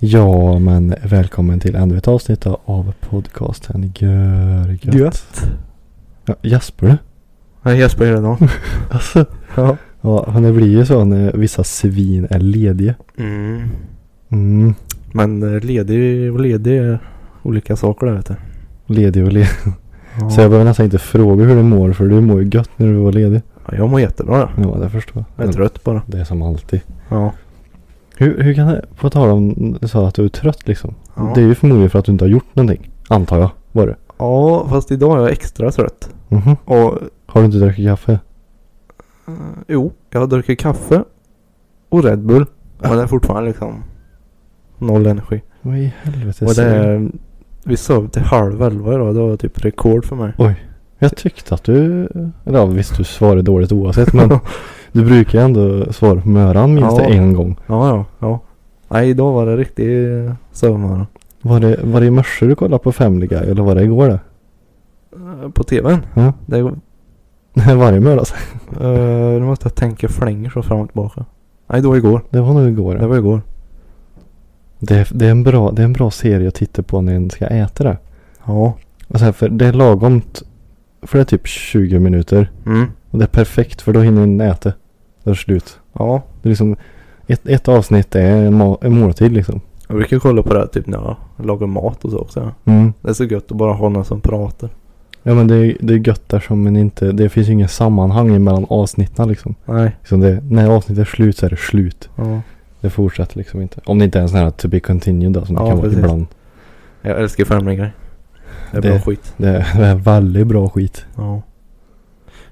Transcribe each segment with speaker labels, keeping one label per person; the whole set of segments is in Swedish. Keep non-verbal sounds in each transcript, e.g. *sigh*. Speaker 1: Ja, men välkommen till ännu ett avsnitt av podcasten Gör gött.
Speaker 2: Gött.
Speaker 1: Ja, Jasper du?
Speaker 2: Nej, Jesper gör det *laughs* då.
Speaker 1: Alltså,
Speaker 2: Ja.
Speaker 1: ja, han det blir ju så när vissa svin är lediga.
Speaker 2: Mm.
Speaker 1: Mm,
Speaker 2: Men eh, ledig och ledig är olika saker där vet du.
Speaker 1: ledig och ledig.
Speaker 2: Ja.
Speaker 1: Så jag behöver nästan inte fråga hur du mår för du mår ju gött när du var ledig.
Speaker 2: Ja, jag mår jättebra ja.
Speaker 1: Ja, det förstår
Speaker 2: Jag är
Speaker 1: Men
Speaker 2: trött bara.
Speaker 1: Det är som alltid.
Speaker 2: Mm. Ja.
Speaker 1: Hur, hur kan det, på tal om du sa att du är trött liksom.
Speaker 2: Ja.
Speaker 1: Det är ju förmodligen för att du inte har gjort någonting. Antar jag, var det.
Speaker 2: ja, fast idag är jag extra trött.
Speaker 1: Mhm.
Speaker 2: Och
Speaker 1: Har du inte druckit kaffe?
Speaker 2: eh, jo, jag har druckit kaffe och Red Bull. Men det är fortfarande liksom noll energi.
Speaker 1: Vad i helvete
Speaker 2: och det
Speaker 1: säger du?
Speaker 2: är, vi sov till halv elva idag. Det var typ rekord för mig.
Speaker 1: Jag tyckte att du, eller ja, visst du svarade dåligt oavsett men du brukar ju ändå svara på möran minst
Speaker 2: Ja.
Speaker 1: en gång.
Speaker 2: *laughs* Ja, ja, ja. Nej, idag var det riktig eh, sövmorgon.
Speaker 1: Var det, var det i morse du kollade på Family Guy eller var det igår det?
Speaker 2: Eh, På tvn.
Speaker 1: Ja. *laughs*
Speaker 2: Det
Speaker 1: Nej, varje mördag alltså.
Speaker 2: Uh, nu måste jag tänka flänger så fram och tillbaka. Nej, det var igår.
Speaker 1: Det var nog igår.
Speaker 2: Det
Speaker 1: Det,
Speaker 2: var igår.
Speaker 1: det, det, är en bra, det är en bra serie att titta på när en ska äta det.
Speaker 2: Ja.
Speaker 1: Och så här, för det är lagom, t- för det är typ 20 minuter.
Speaker 2: Mm.
Speaker 1: Och det är perfekt för då hinner en äta. Då är det slut.
Speaker 2: Ja.
Speaker 1: Det är liksom, ett, ett avsnitt är en, ma- en måltid liksom.
Speaker 2: Jag brukar kolla på det här typ när jag lagar mat och så också.
Speaker 1: Mm.
Speaker 2: Det är så gött att bara ha någon som pratar.
Speaker 1: Ja men det är, det är gött där som men inte, det finns ju ingen sammanhang mellan avsnitten liksom.
Speaker 2: Nej.
Speaker 1: liksom det, när avsnittet är slut så är det slut.
Speaker 2: Ja.
Speaker 1: Det fortsätter liksom inte. Om det inte är en sån här to be continued då, som det
Speaker 2: Ja,
Speaker 1: kan
Speaker 2: precis.
Speaker 1: vara ibland.
Speaker 2: Jag älskar Family Guy. Det är
Speaker 1: Det-
Speaker 2: bra skit.
Speaker 1: Det är, det är väldigt bra skit.
Speaker 2: Ja.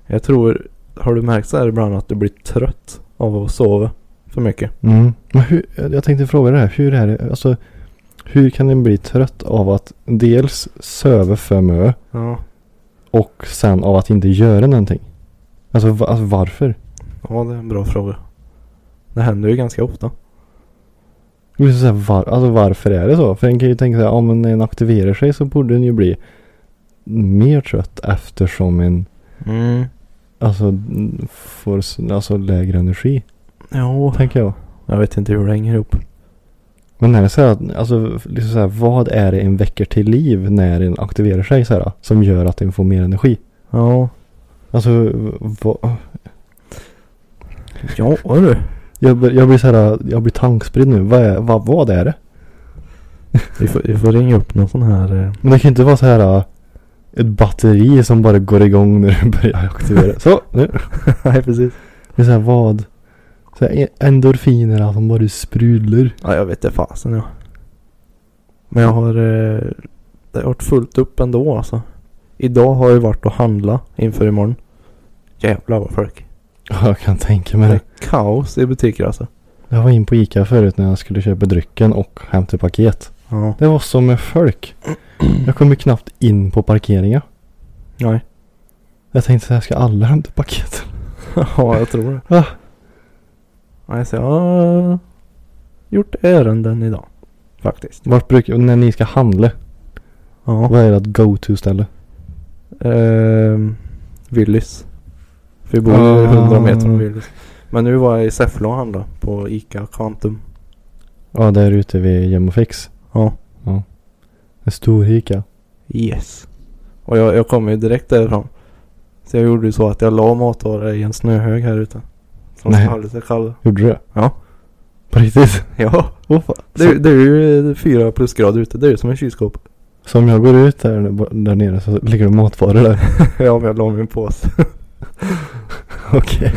Speaker 2: Jag tror, har du märkt så här ibland att du blir trött av att sova för mycket?
Speaker 1: Mm. Men hur, jag tänkte fråga det här. Hur är det? Alltså, hur kan en bli trött av att dels söva för mycket
Speaker 2: Ja.
Speaker 1: och sen av att inte göra någonting? Alltså, va, alltså varför?
Speaker 2: Ja, det är en bra fråga. Det händer ju ganska ofta.
Speaker 1: Liksom så här, var, alltså varför är det så? För en kan ju tänka sig om en aktiverar sig så borde den ju bli mer trött eftersom en
Speaker 2: Mm.
Speaker 1: alltså, n- får s- alltså, lägre energi.
Speaker 2: Ja.
Speaker 1: Tänker jag.
Speaker 2: Jag vet inte hur det hänger ihop.
Speaker 1: Men när det är så här, alltså, liksom så här, vad är det en väcker till liv när en aktiverar sig så här, som gör att den får mer energi?
Speaker 2: Ja.
Speaker 1: Alltså, vad,
Speaker 2: Ja du.
Speaker 1: jag, blir- jag blir så här, jag blir tankspridd nu. Vad, är, vad, vad är det?
Speaker 2: Vi får, vi får ringa upp någon sån här. eh,
Speaker 1: Men det kan inte vara så här, äh, ett batteri som bara går igång när du börjar aktivera. Så, nu.
Speaker 2: *laughs* Nej precis.
Speaker 1: Det är så här, vad? Så här, e- endorfinerna som bara sprudlar.
Speaker 2: Ja jag vet det fasen ja. Men jag har. Eh, det har varit fullt upp ändå alltså. Idag har jag varit och handla inför imorgon. Jävlar vad folk.
Speaker 1: Ja, jag kan tänka mig
Speaker 2: Det
Speaker 1: det.
Speaker 2: är kaos i butiker alltså.
Speaker 1: Jag var in på Ica förut när jag skulle köpa drycken och hämta paket.
Speaker 2: Ja.
Speaker 1: Det var som med folk. Jag kom ju knappt in på parkeringen.
Speaker 2: Nej.
Speaker 1: Jag tänkte så här, ska alla hämta paket?
Speaker 2: *laughs* ja jag tror det.
Speaker 1: Va?
Speaker 2: Nej så jag har gjort ärenden idag. Faktiskt.
Speaker 1: Vart brukar, när ni ska handla,
Speaker 2: Ja.
Speaker 1: vad är ert go-to-ställe?
Speaker 2: Ehm, Willys. För vi bor ju
Speaker 1: Ah.
Speaker 2: 100 meter från Willys. Men nu var jag i Säffle och handlade på Ica Quantum.
Speaker 1: Ja, där ute vid Gem och Fix.
Speaker 2: Ja.
Speaker 1: En stor Ica.
Speaker 2: Yes. Och jag, jag kom ju direkt därifrån. Så jag gjorde ju så att jag la matvaror i en snöhög här ute. Som
Speaker 1: Nej.
Speaker 2: höll sig kall.
Speaker 1: Gjorde du det?
Speaker 2: Ja.
Speaker 1: På riktigt?
Speaker 2: Ja.
Speaker 1: Åh, fan.
Speaker 2: Det, är- det är ju fyra plusgrader ute. Det är ju som en kylskåp.
Speaker 1: Så om jag går ut där, där nere så ligger det matvaror där.
Speaker 2: *laughs* *laughs* ja, men jag la min påse.
Speaker 1: Okej.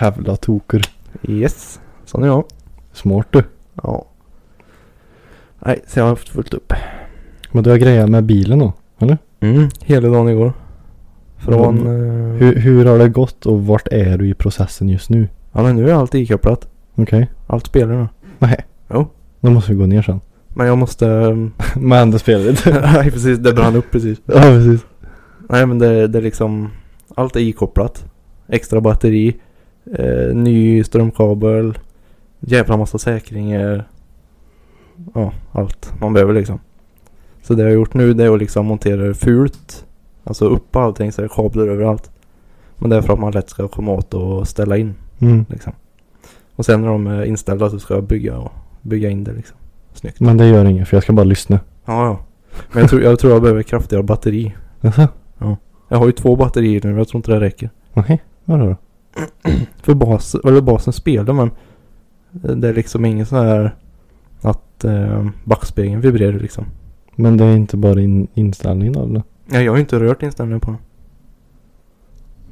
Speaker 1: Jävla toker.
Speaker 2: Yes. Sån är jag.
Speaker 1: Smart du.
Speaker 2: Ja. Nej, så jag har haft fullt upp.
Speaker 1: Men du har grejer med bilen då? Eller?
Speaker 2: Mm. Hela dagen igår. Från... eh,
Speaker 1: Hur, hur har det gått och vart är du i processen just nu?
Speaker 2: Ja, men nu är allt ikopplat.
Speaker 1: Okej.
Speaker 2: Allt spelar nu.
Speaker 1: Nej.
Speaker 2: Jo.
Speaker 1: Då måste vi gå ner sen. *laughs*
Speaker 2: Men jag måste... *laughs* ehm,
Speaker 1: Men det spelar inte. *laughs*
Speaker 2: Nej precis, det brann upp precis.
Speaker 1: ja precis.
Speaker 2: Nej men det, det är liksom... Allt är ikopplat. Extra batteri. Eh, ny strömkabel. Jävla massa säkringar. Ja, allt man behöver liksom. Så det jag har gjort nu det är att liksom montera det fult. Alltså upp allting så det är kablar överallt. Men det är för att man lätt ska komma åt och ställa in.
Speaker 1: Mm.
Speaker 2: Liksom. Och sen när de är inställda så ska jag bygga och bygga in det liksom. Snyggt.
Speaker 1: Men det gör inget för jag ska bara lyssna.
Speaker 2: Ja, ja. Men jag tror, jag tror jag behöver kraftigare batteri.
Speaker 1: Jaså?
Speaker 2: Jag har ju två batterier nu men jag tror inte det räcker.
Speaker 1: Nej. Vadå då?
Speaker 2: För bas, eller basen spelar men det är liksom ingen sån här att eh, backspegeln vibrerar liksom.
Speaker 1: Men det är inte bara in, inställningen då eller?
Speaker 2: Ja, jag har ju inte rört inställningen på den.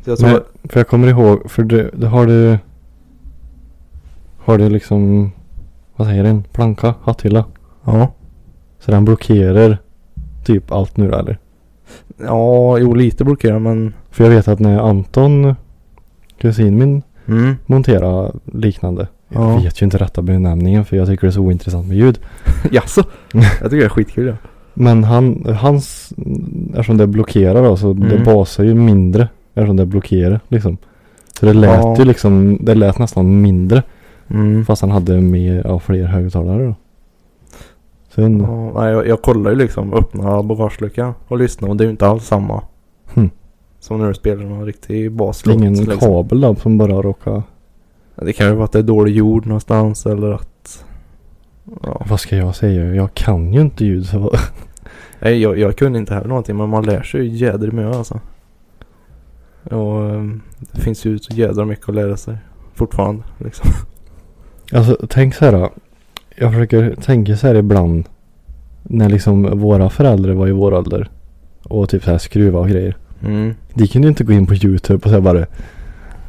Speaker 2: Så jag tror
Speaker 1: Nej, för jag kommer ihåg, för det, det har du... Har du liksom... Vad säger den? Planka? Hatthylla?
Speaker 2: ja.
Speaker 1: Så den blockerar typ allt nu eller?
Speaker 2: ja, jo lite blockerar men.
Speaker 1: För jag vet att när Anton, kusin min,
Speaker 2: Mm.
Speaker 1: monterade liknande. Jag
Speaker 2: Ja.
Speaker 1: vet ju inte rätta benämningen för jag tycker det är så ointressant med ljud.
Speaker 2: *laughs* *laughs* Jaså? jag tycker det är skitkul ja.
Speaker 1: Men han, hans, eftersom det blockerar då så det
Speaker 2: Mm.
Speaker 1: basar ju mindre. Eftersom det blockerar liksom. Så det lät
Speaker 2: Ja.
Speaker 1: ju liksom, det lät nästan mindre.
Speaker 2: Mm.
Speaker 1: Fast han hade mer, ja, fler högtalare då. Sen,
Speaker 2: Ja, nej, jag, jag kollar ju liksom öppna bagageluckan och lyssnar och det är ju inte alls samma.
Speaker 1: Hmm.
Speaker 2: Som när du spelar någon riktig
Speaker 1: det är
Speaker 2: baslåt.
Speaker 1: ingen
Speaker 2: liksom.
Speaker 1: kabel då som bara råkar.
Speaker 2: Det kan ju vara att det är dålig jord någonstans eller att... Ja.
Speaker 1: Vad ska jag säga? Jag kan ju inte ljud så *laughs* vad-
Speaker 2: Nej, jag, jag kunde inte heller någonting men man lär sig ju jädrigt mycket alltså. Och ehm, det finns ju så jädra mycket att lära sig. Fortfarande liksom.
Speaker 1: Alltså tänk så här. då. Jag försöker tänka så här ibland. När liksom våra föräldrar var i vår ålder. Och typ så här skruva och grejer.
Speaker 2: Mm.
Speaker 1: De kunde ju inte gå in på YouTube och säga bara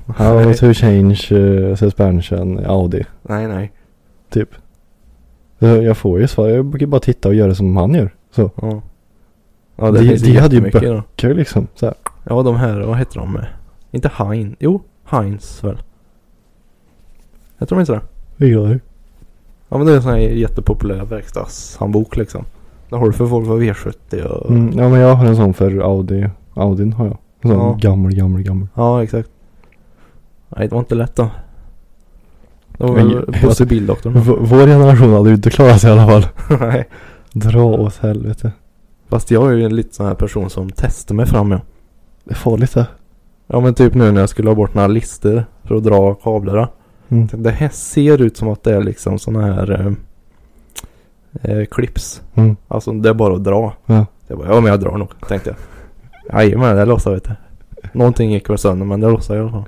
Speaker 1: How
Speaker 2: Nej.
Speaker 1: to change eh, suspension Audi.
Speaker 2: Nej, nej.
Speaker 1: Typ. Så Jag får ju svar. Jag brukar bara titta och göra som han gör. Så.
Speaker 2: Ja. Ja, det
Speaker 1: De-
Speaker 2: finns
Speaker 1: de hade ju
Speaker 2: jättemycket
Speaker 1: bö-
Speaker 2: då.
Speaker 1: Kul liksom. Så här.
Speaker 2: Ja, de här, vad heter de? Inte Hein. Jo, Heinz väl? Heter de inte det?
Speaker 1: Vad gör du?
Speaker 2: Ja men det är en sån här jättepopulär verkstadshandbok liksom. Där har du för Volvo V70 och...
Speaker 1: Mm, ja men jag har en sån för Audi. Audin har jag. En sån
Speaker 2: Ja.
Speaker 1: gammal, gammal, gammal.
Speaker 2: Ja exakt. Nej det var inte lätt då. Det var
Speaker 1: Men- Mm.
Speaker 2: väl Bosse Bildoktorn.
Speaker 1: V- vår generation hade ju inte klarat sig i alla fall.
Speaker 2: Nej.
Speaker 1: Dra åt helvete.
Speaker 2: Fast jag är ju en lite sån här person som testar mig fram ja.
Speaker 1: Det är farligt det.
Speaker 2: Ja men typ nu när jag skulle ha bort några lister för att dra kablarna.
Speaker 1: Mm.
Speaker 2: Det här ser ut som att det är liksom såna här eh, eh, clips.
Speaker 1: Mm.
Speaker 2: Alltså det är bara att dra.
Speaker 1: Ja.
Speaker 2: Jag bara, ja men jag drar nog tänkte jag. Jajamän det lossar vet du. Någonting gick väl sönder men det lossar i alla fall.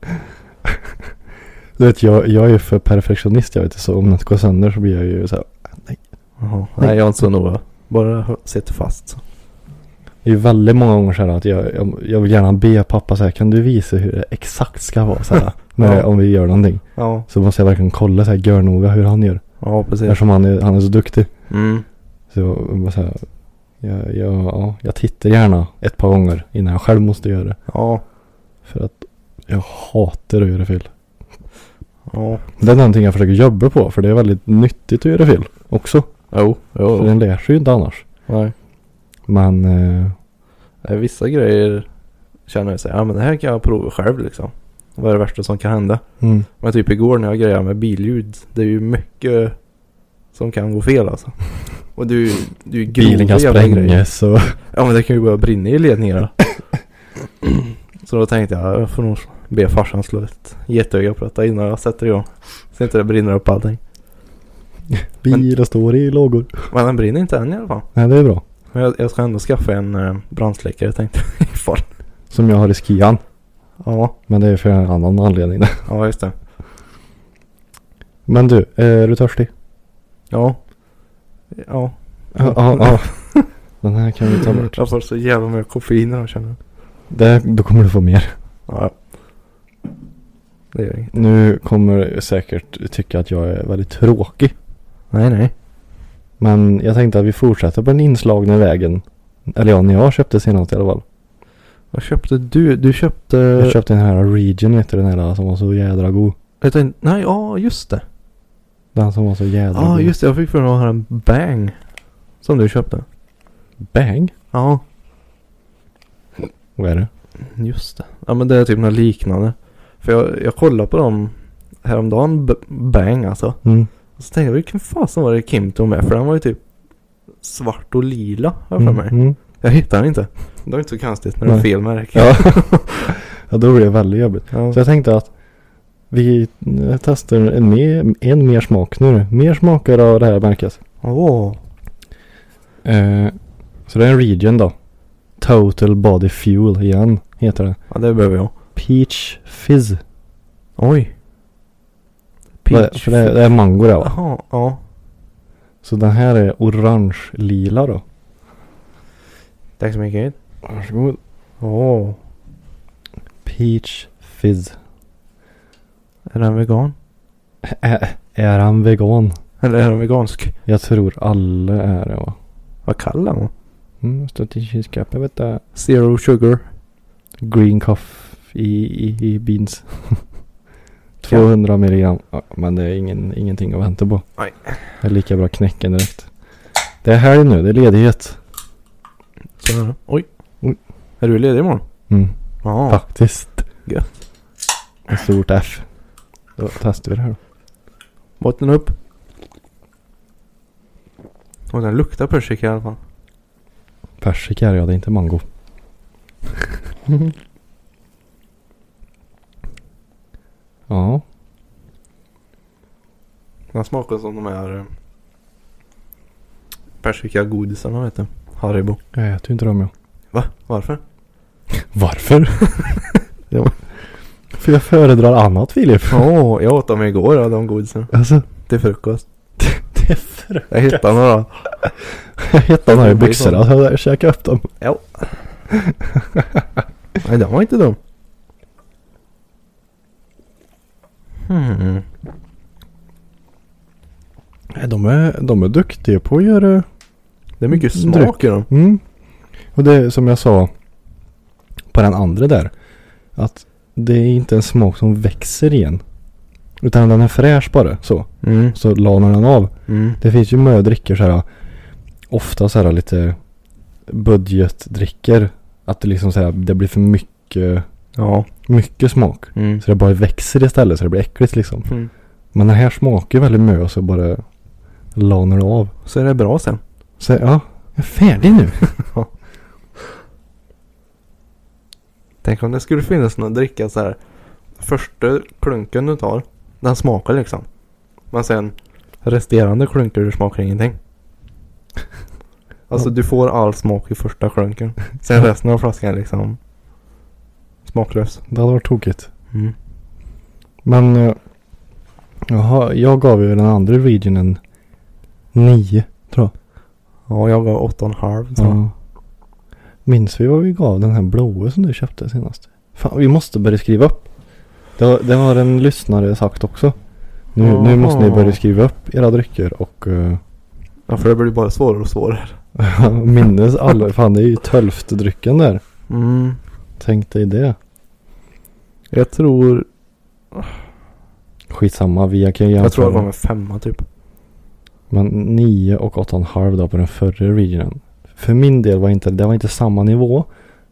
Speaker 1: Du vet, jag, jag är ju för perfektionist jag vet så om något går sönder så blir jag ju så här,
Speaker 2: Jaha. Nej jag är inte så noga. Bara hö- sitter fast. så.
Speaker 1: Det är ju väldigt många gånger så här att jag, jag, jag vill gärna be pappa så här, kan du visa hur det exakt ska vara så
Speaker 2: *laughs*
Speaker 1: här, när,
Speaker 2: Ja.
Speaker 1: om vi gör någonting.
Speaker 2: Ja.
Speaker 1: Så måste jag verkligen kolla så här görnoga hur han gör.
Speaker 2: Ja precis.
Speaker 1: Eftersom han är, han är så duktig.
Speaker 2: Mm.
Speaker 1: Så jag, bara så här, jag, jag, ja, jag tittar gärna ett par gånger innan jag själv måste göra det.
Speaker 2: Ja.
Speaker 1: För att jag hatar att göra fel.
Speaker 2: Ja.
Speaker 1: Det är någonting jag försöker jobba på för det är väldigt nyttigt att göra fel också.
Speaker 2: Jo. Jo.
Speaker 1: För den lär sig ju inte annars.
Speaker 2: Nej.
Speaker 1: Men eh,
Speaker 2: Nej, Vissa grejer känner jag sig, ja men det här kan jag prova själv liksom. Vad är det värsta som kan hända?
Speaker 1: mm,
Speaker 2: Men typ igår när jag grejade med billjud. Det är ju mycket som kan gå fel *laughs* alltså. Och det är ju, det är ju grova
Speaker 1: bilen kan
Speaker 2: jävla grejer.
Speaker 1: sprängas och
Speaker 2: Ja men det kan ju börja brinna i ledningarna. *coughs* Så då tänkte jag, jag får nog be farsan slå ett getöga på detta innan jag sätter igång. Så inte det brinner upp allting.
Speaker 1: bilar står i lågor.
Speaker 2: Men den brinner inte än i alla fall.
Speaker 1: Nej det är bra.
Speaker 2: Men jag, jag ska ändå skaffa en eh, brandsläckare tänkte jag. *laughs* Ifall.
Speaker 1: Som jag har i skian.
Speaker 2: Ja,
Speaker 1: Men det är för en annan anledning. *laughs*
Speaker 2: ja just det.
Speaker 1: Men du, är du törstig?
Speaker 2: Ja. Ja.
Speaker 1: Ja, ja, ja.
Speaker 2: *laughs*
Speaker 1: Den här kan vi ta bort.
Speaker 2: Jag får så jävla mycket koffein idag känner jag.
Speaker 1: Det, då kommer du få mer.
Speaker 2: Ja. Det gör inget.
Speaker 1: Nu kommer du säkert tycka att jag är väldigt tråkig.
Speaker 2: Nej nej.
Speaker 1: Men jag tänkte att vi fortsätter på den inslagna vägen. Eller ja, när jag köpte senast i alla fall.
Speaker 2: Vad köpte du? Du köpte...
Speaker 1: Jag köpte den här Region, vet du den här som var så jädra god.
Speaker 2: Jag tänkte, nej ja just det.
Speaker 1: Den som var så jädra
Speaker 2: Ja, ah,
Speaker 1: god.
Speaker 2: just det. Jag fick för mig att ha en Bang. Som du köpte.
Speaker 1: Bang.
Speaker 2: Ja,
Speaker 1: Vad är det?
Speaker 2: just det. Ja, men det är typ något liknande. För jag, jag kollade på dem häromdagen. B- bang alltså.
Speaker 1: Mm.
Speaker 2: Och så tänkte jag, vilken fasen var det Kim tog med? För den var ju typ svart och lila, har jag för mig.
Speaker 1: Mm, mm.
Speaker 2: Jag hittar den inte. Det är inte så konstigt när det är
Speaker 1: Nej.
Speaker 2: fel märke.
Speaker 1: Ja. *laughs* ja, då blir det väldigt jobbigt.
Speaker 2: Ja.
Speaker 1: Så jag tänkte att vi eh, testar en mer, en mer smak nu. Mer smaker av det här märket.
Speaker 2: Åh.
Speaker 1: Eh, så det är en region då. Total Body Fuel igen heter det.
Speaker 2: Ja, det behöver jag.
Speaker 1: Peach Fizz.
Speaker 2: Oj.
Speaker 1: Vad- För det, det är mango det va?
Speaker 2: Jaha, ja.
Speaker 1: Så den här är orange-lila då.
Speaker 2: Tack så mycket.
Speaker 1: Varsågod.
Speaker 2: Åh.
Speaker 1: Peach Fizz.
Speaker 2: Är den vegan?
Speaker 1: Ä- är han vegan?
Speaker 2: Eller är den vegansk?
Speaker 1: Jag tror alla är det va?
Speaker 2: Vad kall den var.
Speaker 1: Mm, stått i kylskåpet vet du.
Speaker 2: Zero sugar.
Speaker 1: Green coffee i, i, i beans. *laughs* 200 milligram. Ja, men det är ingen, ingenting att vänta på.
Speaker 2: Nej.
Speaker 1: Det är lika bra knäcken direkt. Det är helg nu, det är ledighet.
Speaker 2: Så är det. Oj.
Speaker 1: Oj.
Speaker 2: Är du ledig imorgon?
Speaker 1: Mm,
Speaker 2: Ja.
Speaker 1: Faktiskt.
Speaker 2: Gött.
Speaker 1: Ett stort F. Då testar vi det här då.
Speaker 2: Botten upp. Och den luktar persika i alla fall.
Speaker 1: Persika är det, ja, det är inte mango. *laughs* Ja.
Speaker 2: Den smakar som de här eh, persikagodisarna vet du. Haribo.
Speaker 1: Jag äter ju inte dem jag.
Speaker 2: Va? Varför?
Speaker 1: Varför? *laughs* ja. För jag föredrar annat Filip.
Speaker 2: *laughs* Åh, jag åt dem igår av de godisarna.
Speaker 1: Alltså.
Speaker 2: Till *laughs* frukost.
Speaker 1: Det är frukt.
Speaker 2: Jag hittade några.
Speaker 1: Jag hittade några i byxorna så jag käkade upp dem.
Speaker 2: Jo. Nej, den var inte dum. Hmm.
Speaker 1: Nej, De är, de är duktiga på att göra...
Speaker 2: Det är mycket
Speaker 1: Mm,
Speaker 2: smak i dem.
Speaker 1: Mm. Och det är som jag sa på den andra där. Att det är inte en smak som växer igen. Utan den är fräsch bara så.
Speaker 2: Mm.
Speaker 1: Så lanar den av.
Speaker 2: Mm.
Speaker 1: Det finns ju många drickor så här. Ofta så här lite budgetdrickor. Att det liksom så här, det blir för mycket,
Speaker 2: Ja.
Speaker 1: mycket smak.
Speaker 2: Mm.
Speaker 1: Så det bara växer istället så det blir äckligt liksom.
Speaker 2: Mm.
Speaker 1: Men den här smakar ju väldigt mycket och så bara lanar det av.
Speaker 2: Så är det bra sen.
Speaker 1: Så ja, jag är färdig nu.
Speaker 2: Tänk om det skulle finnas någon dricka så här. Första klunken du tar, den smakar liksom. Men sen resterande klunkar du smakar ingenting. Alltså
Speaker 1: Ja.
Speaker 2: du får all smak i första klunken. Sen resten av flaskan är liksom smaklös.
Speaker 1: *laughs* Det hade varit tokigt.
Speaker 2: Mm.
Speaker 1: Men eh, jaha, jag gav ju den andra regionen nio tror jag.
Speaker 2: Ja, jag gav 8,5 så.
Speaker 1: Ja. Minns vi vad vi gav den här blåa som du köpte senast? Fan, vi måste börja skriva upp. Det, var, det har en lyssnare sagt också. Nu, nu måste ni
Speaker 2: Jaha.
Speaker 1: börja skriva upp era drycker och eh,
Speaker 2: Ja, för det blir bara svårare och svårare.
Speaker 1: *laughs* minnas eh, alla. Fan, det är ju tölfte drycken där.
Speaker 2: Mm.
Speaker 1: Tänk dig det.
Speaker 2: Jag tror...
Speaker 1: Skitsamma, vi kan ju
Speaker 2: Jag tror
Speaker 1: jämföra.
Speaker 2: jag gav en femma typ.
Speaker 1: Men 9 och 8,5 då på den förra regionen. För min del var inte, det var inte samma nivå.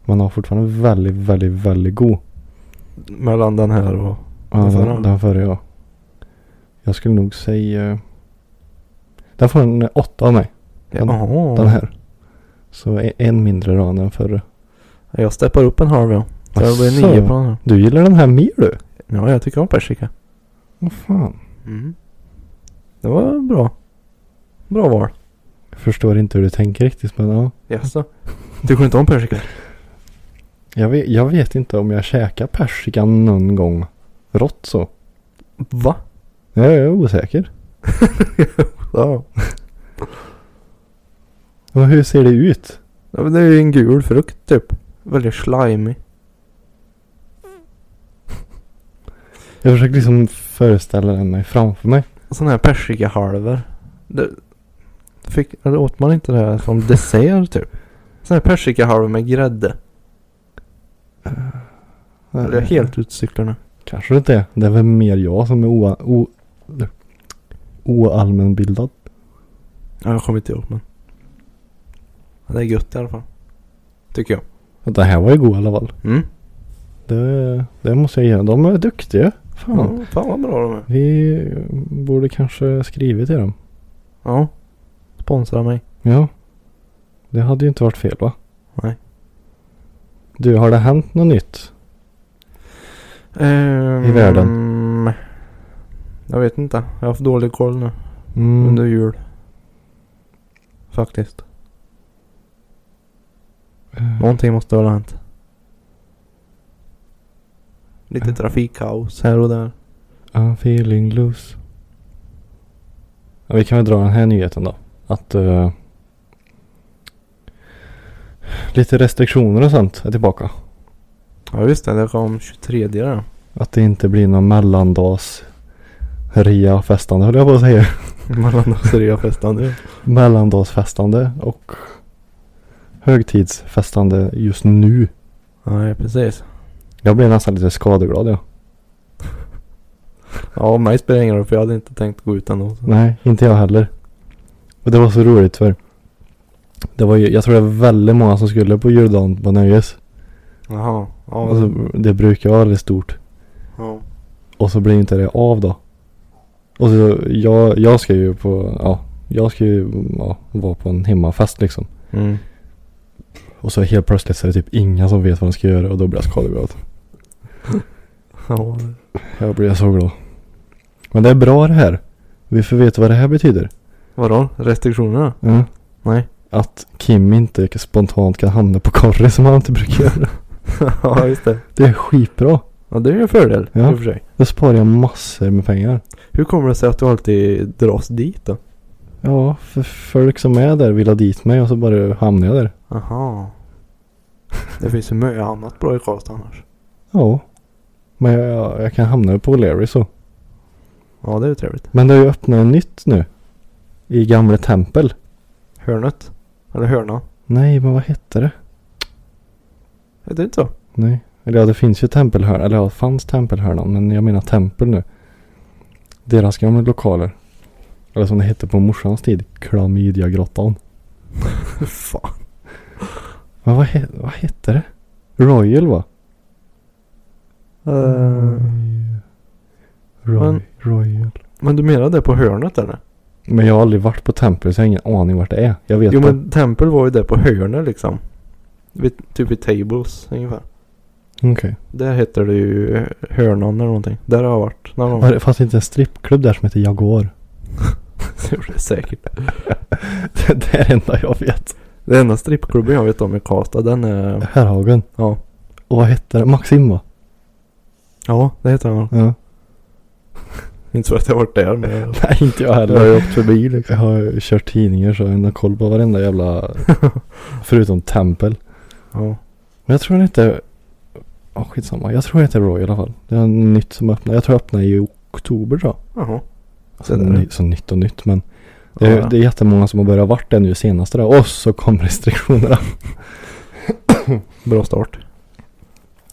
Speaker 1: Men den var fortfarande väldigt, väldigt, väldigt god.
Speaker 2: Mellan den här och...
Speaker 1: Ja,
Speaker 2: Den
Speaker 1: den,
Speaker 2: förra?
Speaker 1: den, förra ja. Jag skulle nog säga... Den får en 8 av mig. Den-
Speaker 2: Jaha.
Speaker 1: Den här. Så e- en mindre då än den förra.
Speaker 2: Jag steppar upp en halv ja. Så det blir
Speaker 1: Asså.
Speaker 2: nio på den här.
Speaker 1: Du gillar den här mer du?
Speaker 2: Ja, jag tycker om persika.
Speaker 1: Vad fan.
Speaker 2: Mm. Det var bra. Bra val.
Speaker 1: Jag förstår inte hur du tänker riktigt men ja.
Speaker 2: Jaså? Tycker du inte om persika?
Speaker 1: Jag vet, jag vet inte om jag käkar persika någon gång. Rått så.
Speaker 2: Va?
Speaker 1: Jag är osäker.
Speaker 2: Ja.
Speaker 1: Och hur ser det ut?
Speaker 2: ja men det är ju en gul frukt typ. Väldigt slimy.
Speaker 1: Jag försöker liksom föreställa den mig framför mig.
Speaker 2: Sådana här persikahalvor. Det... Fick... Eller åt man inte det här som dessert typ? Sådana här persikahalvor med grädde. Eller är jag helt ute och cyklar nu?
Speaker 1: Kanske det inte är. Det är väl mer jag som är oa, o, oallmänbildad.
Speaker 2: Ja, jag kommer inte ihåg men. Ja, Det är gött i alla fall. Tycker jag.
Speaker 1: Det här var ju god i alla fall.
Speaker 2: Mm.
Speaker 1: Det, det måste jag ge dem. De är duktiga. Fan.
Speaker 2: Ja, fan vad bra de är.
Speaker 1: Vi borde kanske skrivit till dem.
Speaker 2: Ja. Sponsra mig.
Speaker 1: Ja. Det hade ju inte varit fel va?
Speaker 2: Nej.
Speaker 1: Du, har det hänt något nytt?
Speaker 2: I
Speaker 1: världen.
Speaker 2: Ehm, Jag vet inte. Jag har haft dålig koll nu.
Speaker 1: Mm.
Speaker 2: Under jul. Faktiskt.
Speaker 1: Eh,
Speaker 2: Någonting måste väl ha hänt. Lite trafikkaos här och där.
Speaker 1: I'm feeling loose. Ja, vi kan väl dra den här nyheten då. Att eh, lite restriktioner och sånt är tillbaka.
Speaker 2: Ja just det, det kom 23 där.
Speaker 1: Att det inte blir någon mellandags ria festande höll jag på att säga.
Speaker 2: *laughs*
Speaker 1: *laughs*
Speaker 2: Mellan oss och reafestande.
Speaker 1: Mellandagsfestande och högtidsfestande just nu.
Speaker 2: Nej precis.
Speaker 1: Jag blev nästan lite skadeglad ja.
Speaker 2: Ja mig spelar det ingen roll för jag hade inte tänkt gå ut ändå.
Speaker 1: Nej, inte jag heller. Och det var så roligt för det var ju, jag tror det var väldigt många som skulle på juldagen på Nöjes.
Speaker 2: Jaha. Ja.
Speaker 1: Alltså, det brukar vara väldigt stort.
Speaker 2: ja.
Speaker 1: Och så blir inte det av då. Och så, jag, jag ska ju på, ja, jag ska ju ja, vara på en hemmafest liksom.
Speaker 2: Mm.
Speaker 1: Och så helt plötsligt så är det typ inga som vet vad de ska göra och då blir jag skadeglad.
Speaker 2: Ja.
Speaker 1: Jag blir så glad. Men det är bra det här. Vi får veta vad det här betyder.
Speaker 2: Vadå? Restriktionerna?
Speaker 1: Mm.
Speaker 2: Nej.
Speaker 1: Att Kim inte spontant kan hamna på korren som han inte brukar göra.
Speaker 2: *laughs* ja just det.
Speaker 1: Det är skitbra.
Speaker 2: Ja det är ju en fördel
Speaker 1: Ja.
Speaker 2: i och för sig.
Speaker 1: Då sparar jag massor med pengar.
Speaker 2: Hur kommer det sig att du alltid dras dit då?
Speaker 1: Ja, för folk som är där vill ha dit mig och så bara hamnar jag där.
Speaker 2: Aha. Det finns ju mycket annat bra i Karlstad annars.
Speaker 1: Ja. Men jag, jag, jag kan hamna på O'Leary så.
Speaker 2: Ja det är ju trevligt.
Speaker 1: Men det har ju öppnat en nytt nu. I Gamle Tempel.
Speaker 2: Hörnet. Eller hörna.
Speaker 1: Nej, men vad hette det?
Speaker 2: Är det inte så?
Speaker 1: Nej. Eller ja, det finns ju tempelhörnan. Eller ja, det fanns tempelhörnan. Men jag menar tempel nu. Deras gamla lokaler. Eller som det hette på morsans tid. Klamydiagrottan.
Speaker 2: *laughs* Fan.
Speaker 1: Men vad, he, vad hette det? Royal va? Roy,
Speaker 2: Eh. Men-
Speaker 1: Royal.
Speaker 2: men du menar det på hörnet eller?
Speaker 1: Men jag har aldrig varit på tempel så jag har ingen aning vart det är. Jag vet
Speaker 2: Jo
Speaker 1: bara-
Speaker 2: men tempel var ju det på hörnet liksom. Vid, typ vid tables ungefär.
Speaker 1: Okej.
Speaker 2: Där heter det ju hörnan eller någonting. Där har jag varit. När
Speaker 1: Var det- Fanns det inte en strippklubb där som heter Jaguar? *laughs*
Speaker 2: det gjorde det säkert.
Speaker 1: det är det enda jag vet.
Speaker 2: Den enda strippklubben jag vet om i Karlstad den är...
Speaker 1: Herrhagen.
Speaker 2: Ja.
Speaker 1: Och vad hette det? Maxim va?
Speaker 2: Ja det heter den.
Speaker 1: Ja.
Speaker 2: Inte för att jag har varit där men jag
Speaker 1: *laughs* Nej inte jag
Speaker 2: jag har
Speaker 1: heller.
Speaker 2: ju åkt förbi liksom.
Speaker 1: Jag har kört tidningar så jag har koll på varenda jävla... *laughs* förutom tempel.
Speaker 2: Ja.
Speaker 1: Men jag tror den heter... Ja skitsamma. Jag tror den heter Roy i alla fall. Det är en nytt som öppnar. Jag tror jag öppnar i oktober då.
Speaker 2: Jaha.
Speaker 1: Alltså,
Speaker 2: Det där.
Speaker 1: ny, så nytt och nytt men. Det är,
Speaker 2: Ja.
Speaker 1: det är jättemånga som har börjat vart det nu senaste där. Och så kom *laughs* restriktionerna.
Speaker 2: Bra start.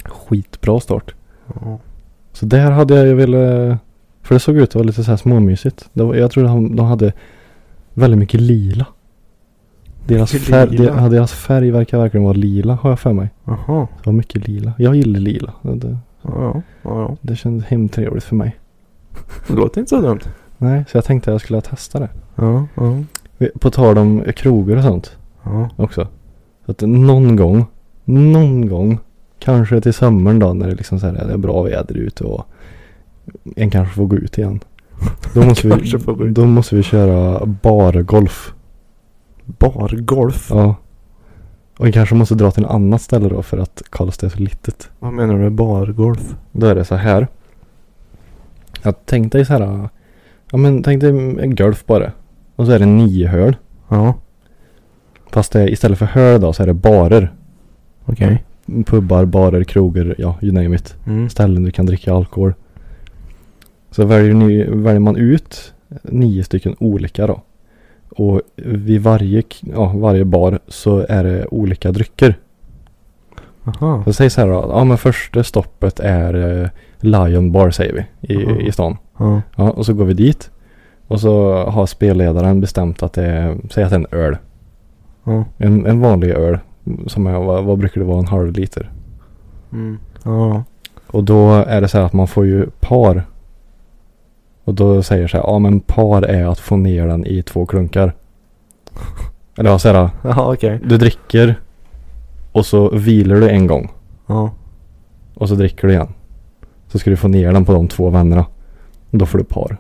Speaker 1: Skitbra start.
Speaker 2: Ja.
Speaker 1: Så där hade jag ju velat... För det såg ut att vara lite så här småmysigt. Det var, jag tror de, de hade väldigt mycket lila. Deras,
Speaker 2: Mycket
Speaker 1: färg,
Speaker 2: lila.
Speaker 1: de- deras färg verkar verkligen vara lila har jag för mig.
Speaker 2: Jaha.
Speaker 1: Det var mycket lila. Jag gillar lila. Det, det,
Speaker 2: Ja, ja, ja.
Speaker 1: det kändes hemtrevligt för mig.
Speaker 2: Det låter inte så dumt.
Speaker 1: Nej, så jag tänkte att jag skulle testa det.
Speaker 2: Ja, ja.
Speaker 1: Vi- På tal om krogar och sånt
Speaker 2: Ja.
Speaker 1: också. Så att någon gång, någon gång, kanske till sommaren då när det liksom så här, det är bra väder ute och en kanske får gå ut igen.
Speaker 2: *laughs*
Speaker 1: Då måste,
Speaker 2: Kanske får gå
Speaker 1: vi,
Speaker 2: ut.
Speaker 1: då måste vi köra bargolf.
Speaker 2: Bargolf?
Speaker 1: Ja. Och vi kanske måste dra till en annat ställe då för att Karlstad är så litet.
Speaker 2: Vad menar du med bargolf?
Speaker 1: Då är det så här. Jag tänkte så här. Ja men tänk dig en golf bara. Och så är det nio hål.
Speaker 2: Ja,
Speaker 1: Fast det, är- istället för hål då så är det barer.
Speaker 2: okej.
Speaker 1: Pubbar, barer, krogar, ja you name it.
Speaker 2: Mm.
Speaker 1: Ställen du kan dricka alkohol. Så väljer, ni, väljer man ut nio stycken olika då. Och vid varje, k- ja, varje bar så är det olika drycker.
Speaker 2: Aha.
Speaker 1: Så säg så här då, ja men första stoppet är eh, Lion Bar säger vi i,
Speaker 2: Mhm.
Speaker 1: i stan.
Speaker 2: Ja.
Speaker 1: Ja, och så går vi dit. Och så har spelledaren bestämt att det är, säg att det är en öl.
Speaker 2: Ja.
Speaker 1: En, en vanlig öl. Som är, vad, vad brukar det vara, en halv liter.
Speaker 2: Mm. Ja.
Speaker 1: Och då är det så här att man får ju par. Och då säger så här, ja men par är att få ner den i två klunkar. Eller ja, så här,
Speaker 2: Ja, okej.
Speaker 1: du dricker och så vilar du en gång.
Speaker 2: Ja.
Speaker 1: Och så dricker du igen. Så ska du få ner den på de två vännerna. Då får du par.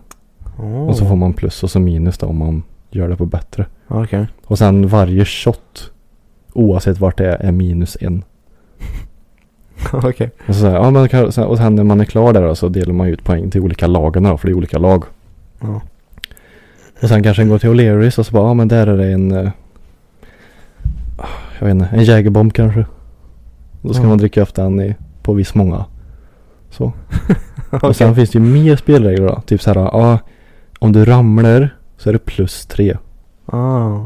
Speaker 2: Oh.
Speaker 1: Och så får man plus och så minus då om man gör det på bättre.
Speaker 2: Okej. *laughs*
Speaker 1: Och sen varje shot, oavsett vart det är, är minus en.
Speaker 2: Okej.
Speaker 1: Och, så så här, ja, men, kan- så här- och sen när man är klar där då, så delar man ut poäng till olika lagen då, för det är olika lag.
Speaker 2: Ja.
Speaker 1: Och sen kanske den går till O'Learys och så bara, ja men där är det en, eh, jag vet inte, en jägerbomb kanske. Då ska
Speaker 2: Ja.
Speaker 1: man dricka upp den i, på viss många.
Speaker 2: *laughs*
Speaker 1: Så.
Speaker 2: Okej.
Speaker 1: Och sen finns det ju mer spelregler då. Typ så här, ja, om du ramlar så är det plus tre.
Speaker 2: Ah.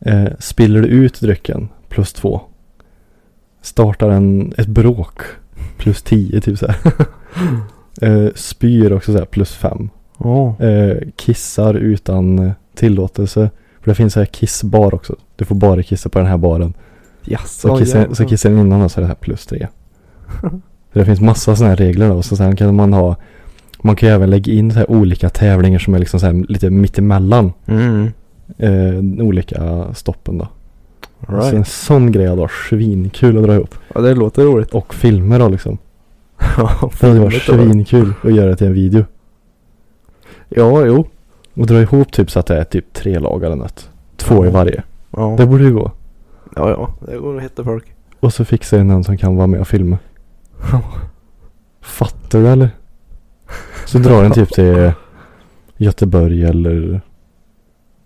Speaker 1: Eh, spiller du ut drycken, plus två. Startar en, ett bråk, plus tio typ så här. eh, spyr också så här, plus fem.
Speaker 2: Oh.
Speaker 1: Eh, kissar utan eh, tillåtelse. För det finns så här kissbar också. Du får bara kissa på den här baren.
Speaker 2: Jaså.
Speaker 1: Så, kissar,
Speaker 2: jävlar.
Speaker 1: så kissar den innan då, så är det här plus tre. Så det finns massa sådana här regler då. Och så sen kan man ha, man kan ju även lägga in så här olika tävlingar som är liksom så här lite mittemellan
Speaker 2: Mm.
Speaker 1: eh, olika stoppen då.
Speaker 2: All
Speaker 1: Så Alltså en
Speaker 2: right.
Speaker 1: sån grej hade varit svinkul att dra ihop.
Speaker 2: Ja, det låter roligt. *laughs*
Speaker 1: Och filmer då liksom.
Speaker 2: Ja,
Speaker 1: Det hade varit
Speaker 2: roligt det var.
Speaker 1: svinkul att göra det till en video.
Speaker 2: Ja, jo.
Speaker 1: Och dra ihop typ så att det är typ tre lag eller något. Två i
Speaker 2: Ja.
Speaker 1: varje.
Speaker 2: Ja.
Speaker 1: Det borde ju gå.
Speaker 2: ja, ja. Det går att hitta folk.
Speaker 1: Och så fixar jag någon som kan vara med och filma.
Speaker 2: Ja.
Speaker 1: Fattar du eller? Så drar den typ till Göteborg eller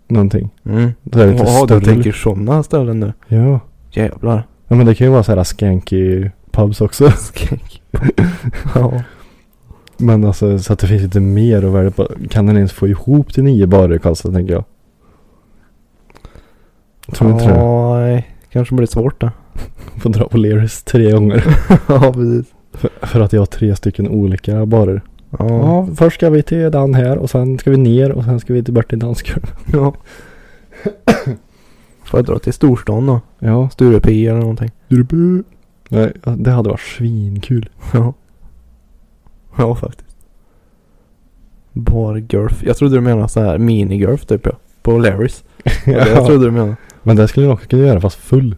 Speaker 1: någonting.
Speaker 2: Mm.
Speaker 1: Så är det lite
Speaker 2: Ja,
Speaker 1: större.
Speaker 2: du tänker sådana ställen nu.
Speaker 1: Ja.
Speaker 2: Jävlar. *laughs*
Speaker 1: ja. men det kan ju vara så här skanky pubs också.
Speaker 2: Skräck. ja.
Speaker 1: Men alltså så att det finns lite mer att välja på. Kan den ens få ihop till nio barer i Karlstad tänker jag? Tror inte det.
Speaker 2: Nej. Kanske blir svårt *laughs* då.
Speaker 1: Får dra på Leris tre gånger.
Speaker 2: ja, precis.
Speaker 1: För, för att jag har tre stycken olika barer.
Speaker 2: Ja.
Speaker 1: Ja, först ska vi till den här och sen ska vi ner och sen ska vi till Bertil Dansgård.
Speaker 2: ja. Får jag dra till storstan då?
Speaker 1: Ja.
Speaker 2: Sturepia eller någonting.
Speaker 1: Strubu. Nej, det hade varit svinkul.
Speaker 2: Ja. Ja, faktiskt. Bargolf. Jag trodde du menade så här minigolf typ ja. På Larrys. *laughs* Ja. Det jag
Speaker 1: Ja.
Speaker 2: trodde du menade.
Speaker 1: *laughs* Men det skulle jag också kunna göra fast full.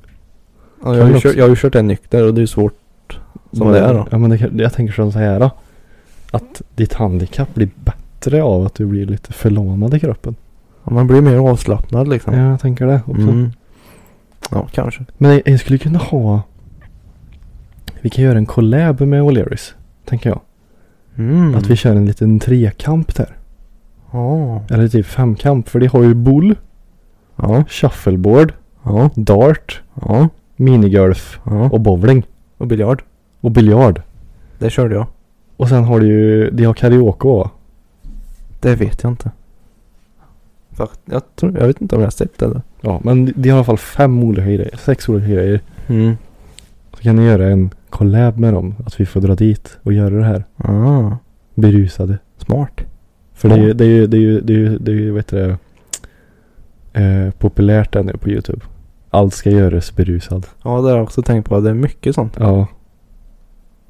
Speaker 2: Ja, jag, har
Speaker 1: Kan
Speaker 2: ju
Speaker 1: också.
Speaker 2: kört, jag har ju kört en nykter och det är ju svårt. Som det är då.
Speaker 1: Ja men det, kan- jag tänker som så här då. Att ditt handikapp blir bättre av att du blir lite förlamad i kroppen.
Speaker 2: Ja, man blir mer avslappnad liksom.
Speaker 1: Ja, jag tänker det också.
Speaker 2: Mm. Ja, kanske.
Speaker 1: Men jag- jag skulle kunna ha... Vi kan göra en collab med O'Learys. Tänker jag.
Speaker 2: Mm.
Speaker 1: Att vi kör en liten trekamp där.
Speaker 2: Ja.
Speaker 1: Eller typ femkamp. För det har ju boule,
Speaker 2: Ja.
Speaker 1: shuffleboard,
Speaker 2: Ja.
Speaker 1: dart,
Speaker 2: Ja.
Speaker 1: minigolf
Speaker 2: Ja.
Speaker 1: och bowling.
Speaker 2: Och biljard.
Speaker 1: Och biljard.
Speaker 2: Det körde jag.
Speaker 1: Och sen har du ju, de har karaoke va?
Speaker 2: Det vet jag inte. Fakt, jag, tror, jag vet inte om jag har sett det. Eller?
Speaker 1: Ja, men de har i alla fall fem olika grejer. Sex olika grejer.
Speaker 2: Mm.
Speaker 1: Så kan ni göra en collab med dem. Att vi får dra dit och göra det här.
Speaker 2: Ah.
Speaker 1: Berusade.
Speaker 2: Smart.
Speaker 1: För det är ju,
Speaker 2: Ja.
Speaker 1: det är ju, det är ju, det är ju, det är ju vad heter det? Eh, populärt där nu på YouTube. Allt ska göras berusad.
Speaker 2: Ja, det har jag också tänkt på. Det är mycket sånt.
Speaker 1: Ja.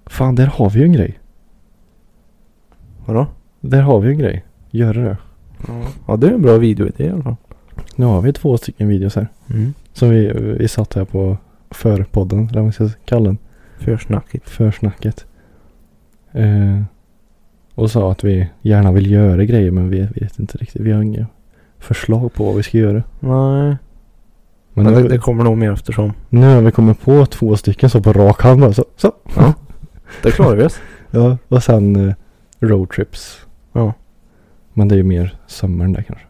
Speaker 1: Fan, där har vi ju en grej.
Speaker 2: Vadå?
Speaker 1: Där har vi ju en grej. Göra det.
Speaker 2: Ja, det är en bra videoidé i alla fall.
Speaker 1: Nu har vi två stycken videos här.
Speaker 2: Mm.
Speaker 1: Som vi, vi satt här på förpodden, eller vad man ska kalla den.
Speaker 2: Försnackigt.
Speaker 1: Försnacket. Eh, och sa att vi gärna vill göra grejer men vi vet inte riktigt. Vi har inga förslag på vad vi ska göra.
Speaker 2: Nej.
Speaker 1: Men,
Speaker 2: Men
Speaker 1: nu,
Speaker 2: det, det kommer nog mer eftersom.
Speaker 1: nu har vi kommit på två stycken så på rak hand bara. Så, så.
Speaker 2: Det klarar vi oss.
Speaker 1: Ja, och sen eh, roadtrips.
Speaker 2: Ja.
Speaker 1: Men det är ju mer sommaren där kanske.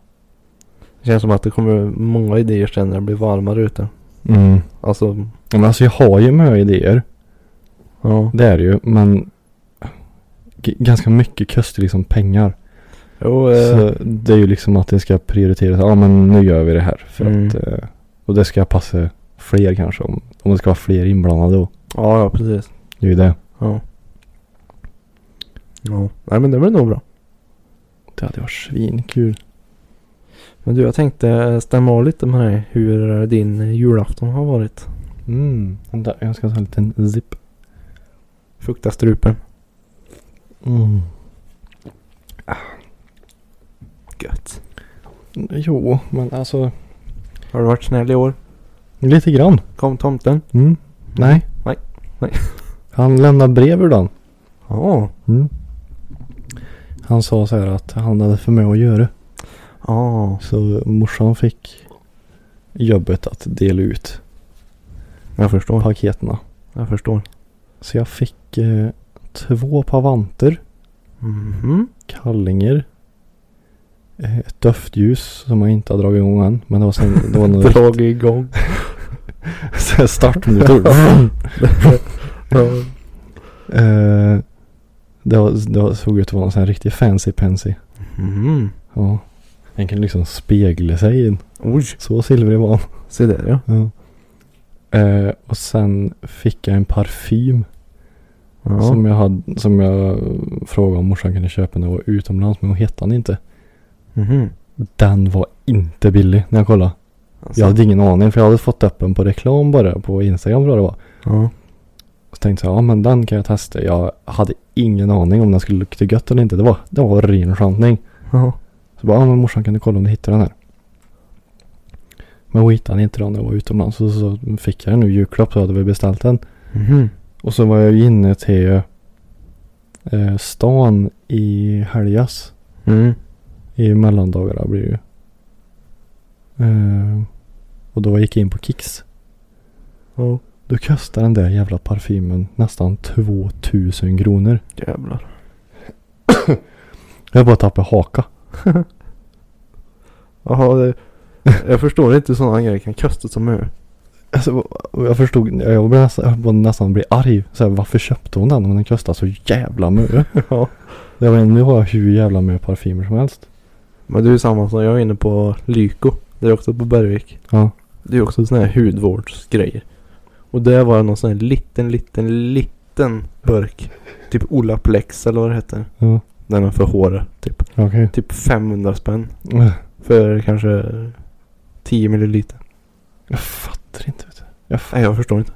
Speaker 2: *laughs* Det känns som att det kommer många idéer sen när det blir varmare ute.
Speaker 1: Mm.
Speaker 2: Alltså,
Speaker 1: Ja, men alltså jag har ju många idéer.
Speaker 2: ja.
Speaker 1: Det är det ju. Men g- ganska mycket kostar liksom pengar.
Speaker 2: Jo, eh,
Speaker 1: Så det är ju liksom att det ska prioriteras. Ja men nu gör vi det här. För
Speaker 2: Mm.
Speaker 1: att, eh, och det ska passa fler kanske. Om, om det ska vara fler inblandade då.
Speaker 2: ja, ja, precis.
Speaker 1: Det är ju det.
Speaker 2: Ja. Ja. Nej, men det blir nog bra.
Speaker 1: Det hade varit svinkul.
Speaker 2: Men du, jag tänkte stämma av lite med dig hur din julafton har varit.
Speaker 1: Mm. Vänta, jag ska ta en liten zip.
Speaker 2: Fukta strupen.
Speaker 1: Mm.
Speaker 2: Gött.
Speaker 1: Jo, men alltså.
Speaker 2: Har du varit snäll i år?
Speaker 1: Lite grann.
Speaker 2: Kom tomten?
Speaker 1: Mm. Nej.
Speaker 2: Nej, nej.
Speaker 1: *laughs* Han lämnade brev ur den.
Speaker 2: Ja.
Speaker 1: Mm. Han sa så här att han hade för mig att göra.
Speaker 2: Ja.
Speaker 1: Så morsan fick jobbet att dela ut
Speaker 2: Jag förstår.
Speaker 1: paketerna.
Speaker 2: Jag förstår.
Speaker 1: Så jag fick eh, två par vanter,
Speaker 2: Mhm.
Speaker 1: kallingar, eh, ett doftljus som jag inte har dragit igång än. Men det var sen,
Speaker 2: *laughs*
Speaker 1: det var några
Speaker 2: Drag igång.
Speaker 1: *laughs* så här startmotor.
Speaker 2: Ja.
Speaker 1: eh, det, var, det var, såg ut att vara en sån här riktig fancy pansy.
Speaker 2: Mhm.
Speaker 1: Ja. Den kunde liksom spegla sig in.
Speaker 2: Oj.
Speaker 1: Så silvrig var han.
Speaker 2: Se där ja.
Speaker 1: Ja. Eh, och sen fick jag en parfym
Speaker 2: Ja.
Speaker 1: som, jag hade, som jag frågade om morsan kunde köpa när jag var utomlands. Men hon hittade den inte.
Speaker 2: Mhm.
Speaker 1: Den var inte billig när jag kollade.
Speaker 2: Alltså.
Speaker 1: Jag hade ingen aning för jag hade fått upp den på reklam bara på Instagram tror jag det var.
Speaker 2: Ja.
Speaker 1: Så tänkte jag, ja men den kan jag testa. Jag hade ingen aning om den skulle lukta gött eller inte. Det var, det var ren chansning.
Speaker 2: Ja.
Speaker 1: Så bara, ja men morsan kan du kolla om du hittar den här? Men hon hittade inte den när jag var utomlands. Så, så fick jag den nu i julklapp så hade vi beställt den.
Speaker 2: Mhm.
Speaker 1: Och så var jag ju inne till eh, stan i helgas.
Speaker 2: Mm.
Speaker 1: I mellandagarna blir det ju. Eh, och då gick jag in på Kicks.
Speaker 2: Ja.
Speaker 1: Då kostade den där jävla parfymen nästan 2000 kronor.
Speaker 2: Jävlar.
Speaker 1: Jag bara tappade haka.
Speaker 2: Jaha, det... jag förstår inte hur sådana grejer kan kosta så mycket.
Speaker 1: Alltså, jag förstod, jag blev nästan, jag blev nästan blev arg. Så här, varför köpte hon den om den kostade så jävla mycket?
Speaker 2: Ja.
Speaker 1: Det var, nu har jag hur jävla mycket parfymer som helst.
Speaker 2: Men det är ju samma som jag är inne på Lyko. Det är också på Bergvik.
Speaker 1: Ja.
Speaker 2: Det är också sådana här hudvårdsgrejer. Och där var det någon sån här liten, liten, liten burk. Typ Olaplex eller vad det heter.
Speaker 1: Ja,
Speaker 2: Den är för håret. Typ,
Speaker 1: okej.
Speaker 2: typ 500 spänn. För kanske 10 milliliter.
Speaker 1: Jag fattar inte vet du. Jag fattar.
Speaker 2: Nej, jag förstår inte.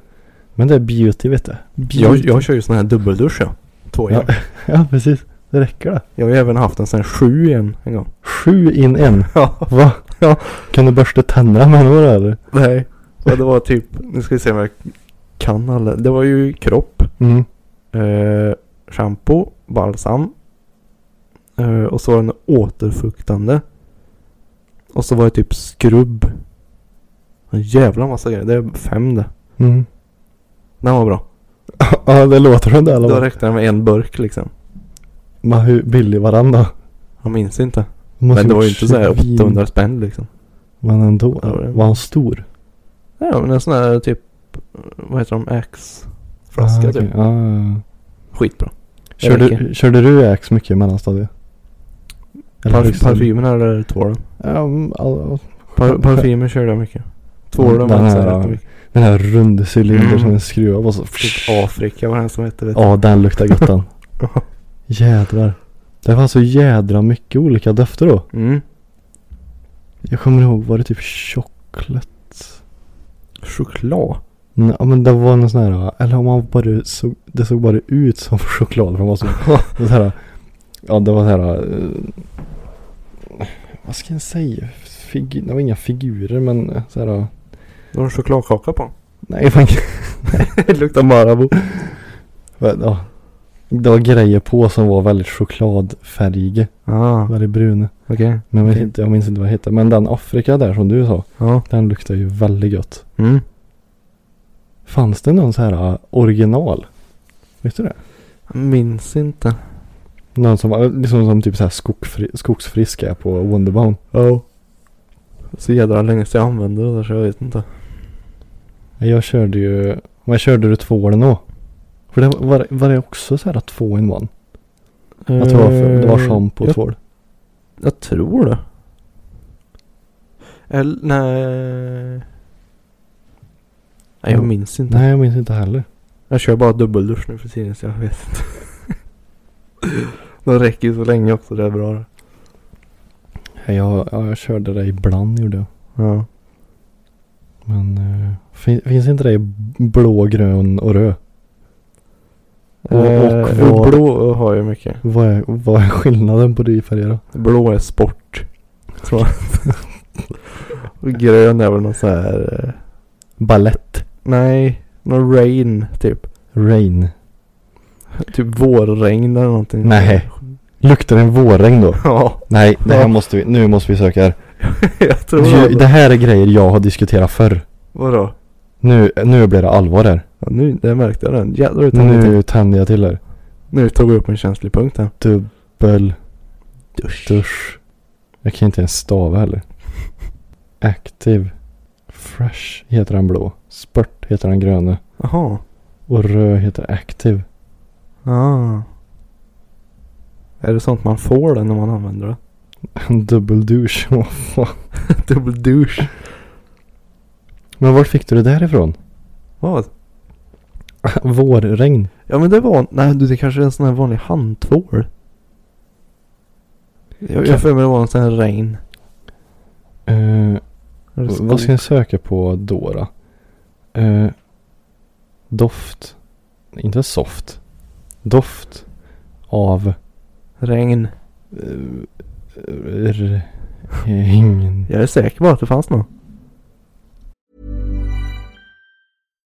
Speaker 1: Men det är beauty vet du. Beauty.
Speaker 2: Jag, jag kör ju sån här dubbeldusch ja. Två
Speaker 1: Ja.
Speaker 2: ja.
Speaker 1: Ja precis. Det räcker det.
Speaker 2: Jag har ju även haft en sån här sju igen en gång.
Speaker 1: Sju in en.
Speaker 2: Ja.
Speaker 1: Va?
Speaker 2: Ja.
Speaker 1: Kan du borsta tänderna med några eller?
Speaker 2: *laughs* Nej. Ja, det var typ, nu ska vi se om jag kan alla. Det var ju kropp,
Speaker 1: Mm.
Speaker 2: eh, shampoo, balsam. Eh, och så var den återfuktande. Och så var det typ skrubb. En jävla massa grejer. Det är fem det.
Speaker 1: Mm.
Speaker 2: Den var bra.
Speaker 1: *laughs* Ja det låter som det eller
Speaker 2: Då
Speaker 1: vad?
Speaker 2: räckte den med en burk liksom.
Speaker 1: Men hur billig var den då?
Speaker 2: Jag minns inte.
Speaker 1: Måste
Speaker 2: Men det var ju
Speaker 1: gjort
Speaker 2: inte så här
Speaker 1: svin.
Speaker 2: 800 spänn liksom.
Speaker 1: Men ändå.
Speaker 2: Ja, det-
Speaker 1: Var han stor?
Speaker 2: Ja men en sån här typ, vad heter de, Axe flaska
Speaker 1: ah, okej.
Speaker 2: typ.
Speaker 1: Ja, ja, ja.
Speaker 2: Skitbra. Det räcker.
Speaker 1: Körde, körde du Axe mycket i mellanstadiet? Eller
Speaker 2: Parf
Speaker 1: liksom-
Speaker 2: Parfymen eller tvålen?
Speaker 1: Ja, mm, all- *laughs*
Speaker 2: Par parfymen körde jag mycket. Tvålen
Speaker 1: Den
Speaker 2: var
Speaker 1: här,
Speaker 2: inte
Speaker 1: ja.
Speaker 2: så mycket.
Speaker 1: den här runda cylindern
Speaker 2: Mm.
Speaker 1: som en skruv och så.
Speaker 2: Typ Afrika var den som hette vet du.
Speaker 1: Ja, den luktar gott
Speaker 2: *laughs*
Speaker 1: den. Jädrar. Det var så jädra mycket olika dofter då.
Speaker 2: Mm.
Speaker 1: Jag kommer ihåg, var det typ choklad?
Speaker 2: Choklad?
Speaker 1: Mm, Ja men det var någon sån här, eller om man bara såg, det såg bara ut som *laughs* choklad. För man var så, *laughs* så här, ja det var så här. eh, Vad ska jag säga? Figu- det var inga figurer men eh, så här.
Speaker 2: Det var en
Speaker 1: *laughs*
Speaker 2: chokladkaka på
Speaker 1: Nej fan.
Speaker 2: Det luktar Marabou.
Speaker 1: Men, ja. Det var grejer på som var väldigt chokladfärgiga.
Speaker 2: Ah,
Speaker 1: Väldigt bruna.
Speaker 2: okej.
Speaker 1: Men jag, vet
Speaker 2: Okej.
Speaker 1: inte, jag minns inte vad det hette. Men den Afrika där som du sa.
Speaker 2: Ja.
Speaker 1: Den luktar ju väldigt gött.
Speaker 2: Mm.
Speaker 1: Fanns det någon så här eh, original? Vet du det?
Speaker 2: Jag Minns inte.
Speaker 1: Någon som var liksom som typ så här skogsfri, skogsfriska på Wonderbound.
Speaker 2: Ja. Så jädra länge sedan jag använde det där så jag vet inte.
Speaker 1: Jag körde ju, men körde du två eller nå? För det var, var det också så här två in one? Jag tror det var, för, det var
Speaker 2: Eh,
Speaker 1: shampoo och
Speaker 2: jag,
Speaker 1: tvål.
Speaker 2: jag tror det. Eller nej. Nej jag
Speaker 1: Ja.
Speaker 2: minns inte.
Speaker 1: Nej jag minns inte heller.
Speaker 2: Jag kör bara dubbeldusch nu för tiden så jag vet inte. *laughs* De räcker ju så länge också, det är bra.
Speaker 1: Jag, ja, jag körde det ibland gjorde jag.
Speaker 2: Ja.
Speaker 1: Men eh, fin, finns inte det i blå, grön och röd? Och, och
Speaker 2: Eh,
Speaker 1: vad,
Speaker 2: blå har jag mycket.
Speaker 1: vad, är, vad är skillnaden på de färgerna?
Speaker 2: Blå är sport. tror jag. Och *laughs* grön är väl någon sån här... eh,
Speaker 1: Ballett.
Speaker 2: Nej, någon rain typ.
Speaker 1: Rain.
Speaker 2: Typ vårregn eller någonting.
Speaker 1: Nej. Luktar det en vårregn då?
Speaker 2: *laughs* Ja,
Speaker 1: Nej, det här
Speaker 2: Ja.
Speaker 1: måste vi, nu måste vi söka här.
Speaker 2: jag tror
Speaker 1: Ju-
Speaker 2: det.
Speaker 1: Det här är grejer jag har diskuterat förr.
Speaker 2: Vadå?
Speaker 1: Nu, nu blir det allvar här.
Speaker 2: Ja, nu, där märkte jag den. Jävlar utan nu.
Speaker 1: Nu tänder jag till här.
Speaker 2: nu tog jag upp en känslig punkt här.
Speaker 1: Dubbel
Speaker 2: Dusch.
Speaker 1: dusch. Jag kan inte ens stava heller. Active. Fresh heter den blå. Spurt heter den gröna.
Speaker 2: Jaha.
Speaker 1: Och röd heter active. *laughs*
Speaker 2: Ah. Är det sånt man får den när man använder det?
Speaker 1: Dubbel douche. Vad fan.
Speaker 2: *laughs* Dubbel douche.
Speaker 1: Men vart fick du det där ifrån? *laughs*
Speaker 2: Vad?
Speaker 1: Vårregn.
Speaker 2: Ja men det var, nej du det kanske är en sån här vanlig handtvål. Jag jag har för mig det var en sån här regn.
Speaker 1: Eh,
Speaker 2: Eller skog.
Speaker 1: vad ska jag söka på då då? Eh, doft. Inte soft. Doft av
Speaker 2: Regn.
Speaker 1: Uh, r- eh, ingen.
Speaker 2: Jag är säker på att det fanns någon.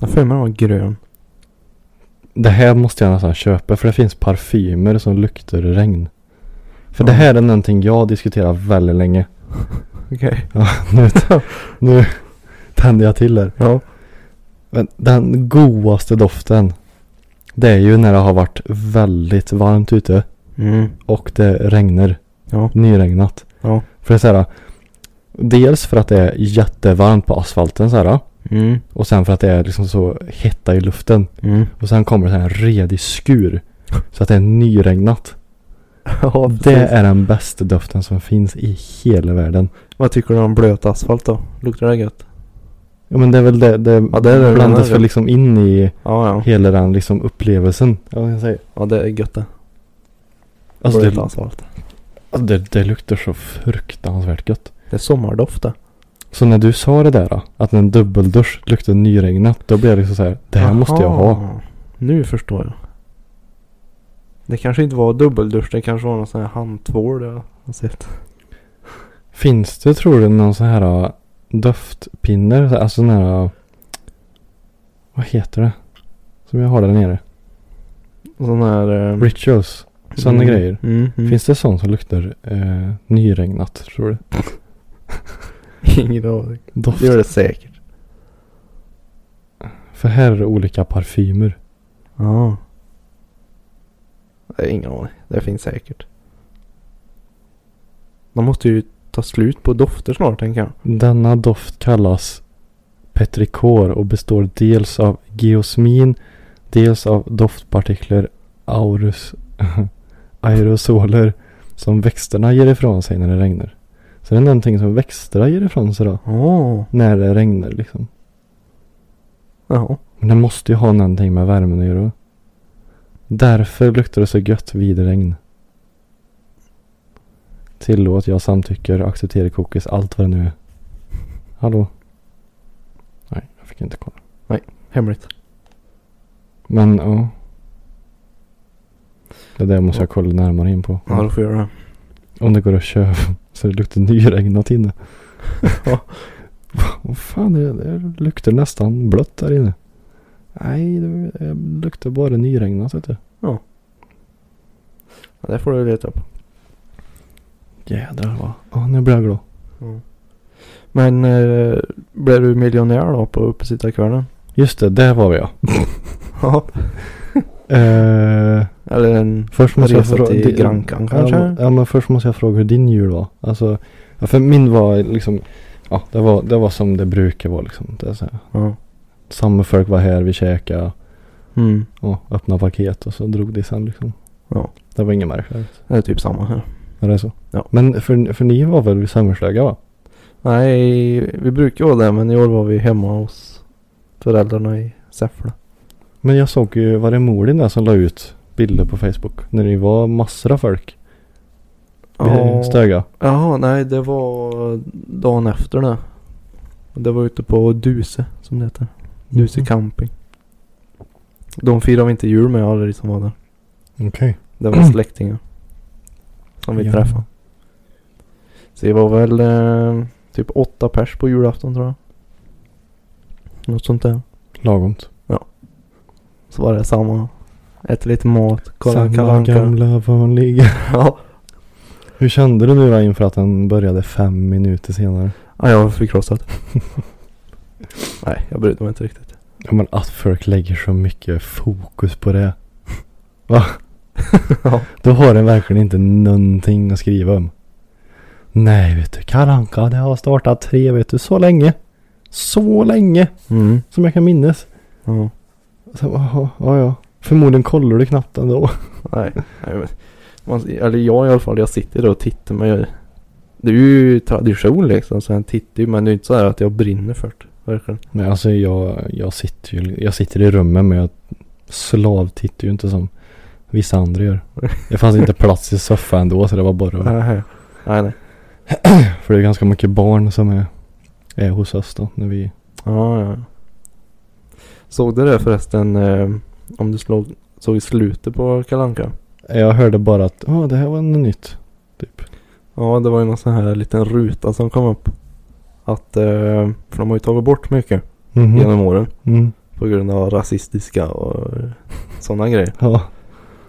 Speaker 2: Jag har för mig den var grön.
Speaker 1: Det här måste jag nästan köpa för det finns parfymer som luktar regn. För det
Speaker 2: Ja.
Speaker 1: här är någonting jag diskuterar väldigt länge. *laughs*
Speaker 2: Okej.
Speaker 1: Ja, nu, t- nu tänder jag till här.
Speaker 2: Ja.
Speaker 1: Men den godaste doften. Det är ju när det har varit väldigt varmt ute
Speaker 2: Mm.
Speaker 1: och det regnar.
Speaker 2: Ja.
Speaker 1: Nyregnat.
Speaker 2: Ja.
Speaker 1: För det är så här. Dels för att det är jättevarmt på asfalten så här.
Speaker 2: Mm.
Speaker 1: Och sen för att det är liksom så hetta i luften. *laughs*
Speaker 2: Mm.
Speaker 1: Och sen kommer det här en redig
Speaker 2: *laughs*
Speaker 1: skur. Så att det är nyregnat.
Speaker 2: ja,
Speaker 1: Det
Speaker 2: precis.
Speaker 1: är den bästa doften som finns i hela världen.
Speaker 2: Vad tycker du om blöt asfalt då? Luktar det gött?
Speaker 1: Ja men det är väl det, det,
Speaker 2: Ja, det är det den
Speaker 1: blandas
Speaker 2: här,
Speaker 1: väl
Speaker 2: ja.
Speaker 1: liksom in i
Speaker 2: Ja, ja.
Speaker 1: hela den liksom upplevelsen. Ja, vad ska jag säga?
Speaker 2: Ja, det är gött det.
Speaker 1: Alltså
Speaker 2: blöt
Speaker 1: det,
Speaker 2: asfalt.
Speaker 1: alltså det, det luktar så fruktansvärt gött.
Speaker 2: Det är sommardoft det.
Speaker 1: Så när du sa det där då, att en dubbeldusch luktar nyregnat. Då blev jag liksom så här, det här måste jag ha.
Speaker 2: Aha. Nu förstår jag. Det kanske inte var dubbeldusch. Det kanske var någon sån här handtvål jag har sett.
Speaker 1: Finns det tror du någon sån här ah, doftpinne? Alltså sån här... ah, Vad heter det? Som jag har där nere.
Speaker 2: Sån här... Eh,
Speaker 1: Rituals. Sådana
Speaker 2: mm,
Speaker 1: grejer.
Speaker 2: Mm, mm.
Speaker 1: Finns det sånt som luktar eh, nyregnat tror du?
Speaker 2: *laughs* ingen aning.
Speaker 1: Doft.
Speaker 2: Det gör det säkert.
Speaker 1: För här är det olika parfymer.
Speaker 2: Ja. Det är ingen aning. Det finns säkert. De måste ju ta slut på dofter snart tänker jag.
Speaker 1: Denna doft kallas petrikor och består dels av geosmin, dels av doftpartiklar, aurus, *laughs* aerosoler som växterna ger ifrån sig när det regnar. Så det är någonting som växterna ger ifrån sig då,
Speaker 2: Åh.
Speaker 1: när det regnar liksom.
Speaker 2: Jaha.
Speaker 1: Men det måste ju ha någonting med värmen att göra. Därför luktar det så gött vid regn. Tillåt, jag samtycker, accepterar kokis, allt vad det nu är. Hallå? Nej, jag fick inte kolla.
Speaker 2: Hemligt.
Speaker 1: Men ja. Det där måste jag kolla närmare in på.
Speaker 2: Ja, då får jag göra det.
Speaker 1: Om det går att köpa. *laughs* Så det luktar nyregnat inne.
Speaker 2: *laughs* Ja.
Speaker 1: Vad fan är det? Det luktar nästan blött där inne. Nej, det det luktar bara nyregnat vet du.
Speaker 2: Ja, det får du leta upp.
Speaker 1: Jädrar vad. Ja, nu blir jag glad.
Speaker 2: Men eh, blev du miljonär då på uppesittarkvällen?
Speaker 1: Just det, där var vi ja.
Speaker 2: Ja.
Speaker 1: Eh,
Speaker 2: Eller en...
Speaker 1: först måste jag
Speaker 2: Resa
Speaker 1: fråga.
Speaker 2: till
Speaker 1: di-
Speaker 2: Grankan
Speaker 1: ja,
Speaker 2: kanske?
Speaker 1: men- Ja, men först måste jag fråga hur din jul var. Alltså, ja, för min var liksom. Ja, det var, det var som det brukar vara liksom. Det är så här.
Speaker 2: Ja.
Speaker 1: Samma folk var här, vi käkade.
Speaker 2: Mm.
Speaker 1: Ja, öppnade paket och så drog det sen liksom.
Speaker 2: Ja.
Speaker 1: Det var inget märkligt.
Speaker 2: Det är typ samma här.
Speaker 1: Är det så?
Speaker 2: Ja.
Speaker 1: Men för, för ni var väl vid Sömmerslöga va?
Speaker 2: Nej, vi brukar vara där men i år var vi hemma hos föräldrarna i Säffle.
Speaker 1: Men jag såg ju, var det mor din där som la ut bilder på Facebook? När det var massor av folk vid
Speaker 2: Ja.
Speaker 1: Stöga.
Speaker 2: Jaha, nej det var dagen efter det. Det var ute på Duse som det heter.
Speaker 1: Mhm.
Speaker 2: Duse camping. De firade vi inte jul med alla de som var liksom där.
Speaker 1: Okej. *clears throat*
Speaker 2: Det var släktingar. Som vi
Speaker 1: Ja.
Speaker 2: träffade. Så det var väl eh, typ åtta pers på julafton tror jag. Något sånt där.
Speaker 1: Lagomt.
Speaker 2: Så var det samma. Äter lite mat. Kolla Kalle
Speaker 1: Samma
Speaker 2: Anka.
Speaker 1: gamla vanliga.
Speaker 2: *laughs* Ja.
Speaker 1: Hur kände du nu då inför att den började fem minuter senare?
Speaker 2: ja, jag var förkrossad.
Speaker 1: *laughs*
Speaker 2: nej, jag brydde mig inte riktigt.
Speaker 1: Ja men att folk lägger så mycket fokus på *laughs* det. *laughs*
Speaker 2: ja.
Speaker 1: Då har den verkligen inte någonting att skriva om. Nej vet du, Kalle Anka det har startat tre vet du, så länge. Så länge
Speaker 2: Mm.
Speaker 1: som jag kan minnas.
Speaker 2: Ja.
Speaker 1: Så, aha, ja, ja. Förmodligen kollar du knappt ändå.
Speaker 2: Nej, nej men, man, eller jag i alla fall, jag sitter där och tittar men jag, det är ju tradition liksom så jag tittar ju men det är ju inte så här att jag brinner för det. Verkligen.
Speaker 1: Nej alltså jag, jag, sitter ju, jag sitter i rummet men jag slavtittar ju inte som vissa andra gör. Det fanns inte plats i soffan ändå så det var bara
Speaker 2: Nej, nej. nej.
Speaker 1: För det är ganska mycket barn som är, är hos oss då. När vi,
Speaker 2: Ja, ja. Såg du det förresten eh, om du slog, såg i slutet på Kalanka?
Speaker 1: jag hörde bara att ja det här var något nytt. Typ.
Speaker 2: Ja, det var ju någon sån här liten ruta som kom upp. Att, eh, för de har ju tagit bort mycket
Speaker 1: Mhm.
Speaker 2: genom åren.
Speaker 1: Mm.
Speaker 2: På grund av rasistiska och sådana grejer.
Speaker 1: Ja.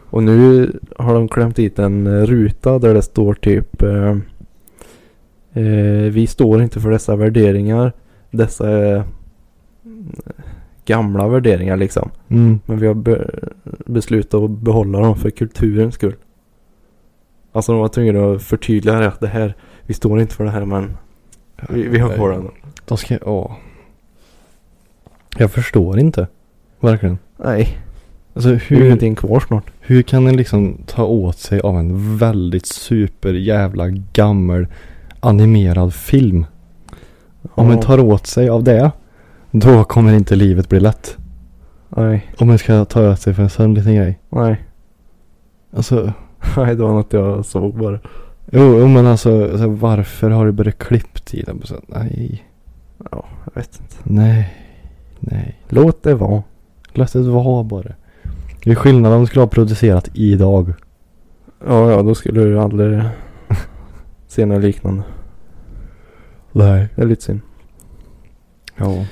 Speaker 2: Och nu har de klämt dit en eh, ruta där det står typ eh, eh, Vi står inte för dessa värderingar. Dessa eh, gamla värderingar liksom.
Speaker 1: Mm.
Speaker 2: Men vi har be- beslutat att behålla dem för kulturens skull. Alltså de var tvungna att förtydliga det att det här, vi står inte för det här men vi, vi har kvar den.
Speaker 1: De ska, ja. Jag förstår inte. Verkligen.
Speaker 2: Nej,
Speaker 1: Alltså
Speaker 2: det är ju
Speaker 1: hur,
Speaker 2: ingenting kvar snart.
Speaker 1: Hur kan en liksom ta åt sig av en väldigt super jävla gammal animerad film? Om man
Speaker 2: Ja,
Speaker 1: tar åt sig av det, då kommer inte livet bli lätt.
Speaker 2: Nej,
Speaker 1: Om man ska ta åt sig för en sån liten grej.
Speaker 2: nej, *laughs*
Speaker 1: Alltså,
Speaker 2: nej det var något jag såg bara.
Speaker 1: jo, jo men alltså, alltså varför har du börjat klippt i den? Så, Nej,
Speaker 2: Ja, jag vet inte.
Speaker 1: nej, nej.
Speaker 2: Låt det vara.
Speaker 1: Låt det vara bara. Det är skillnad om du skulle ha producerat idag.
Speaker 2: Ja, ja, då skulle du *laughs* aldrig se något liknande.
Speaker 1: Nej.
Speaker 2: Det är lite synd.
Speaker 1: Ja.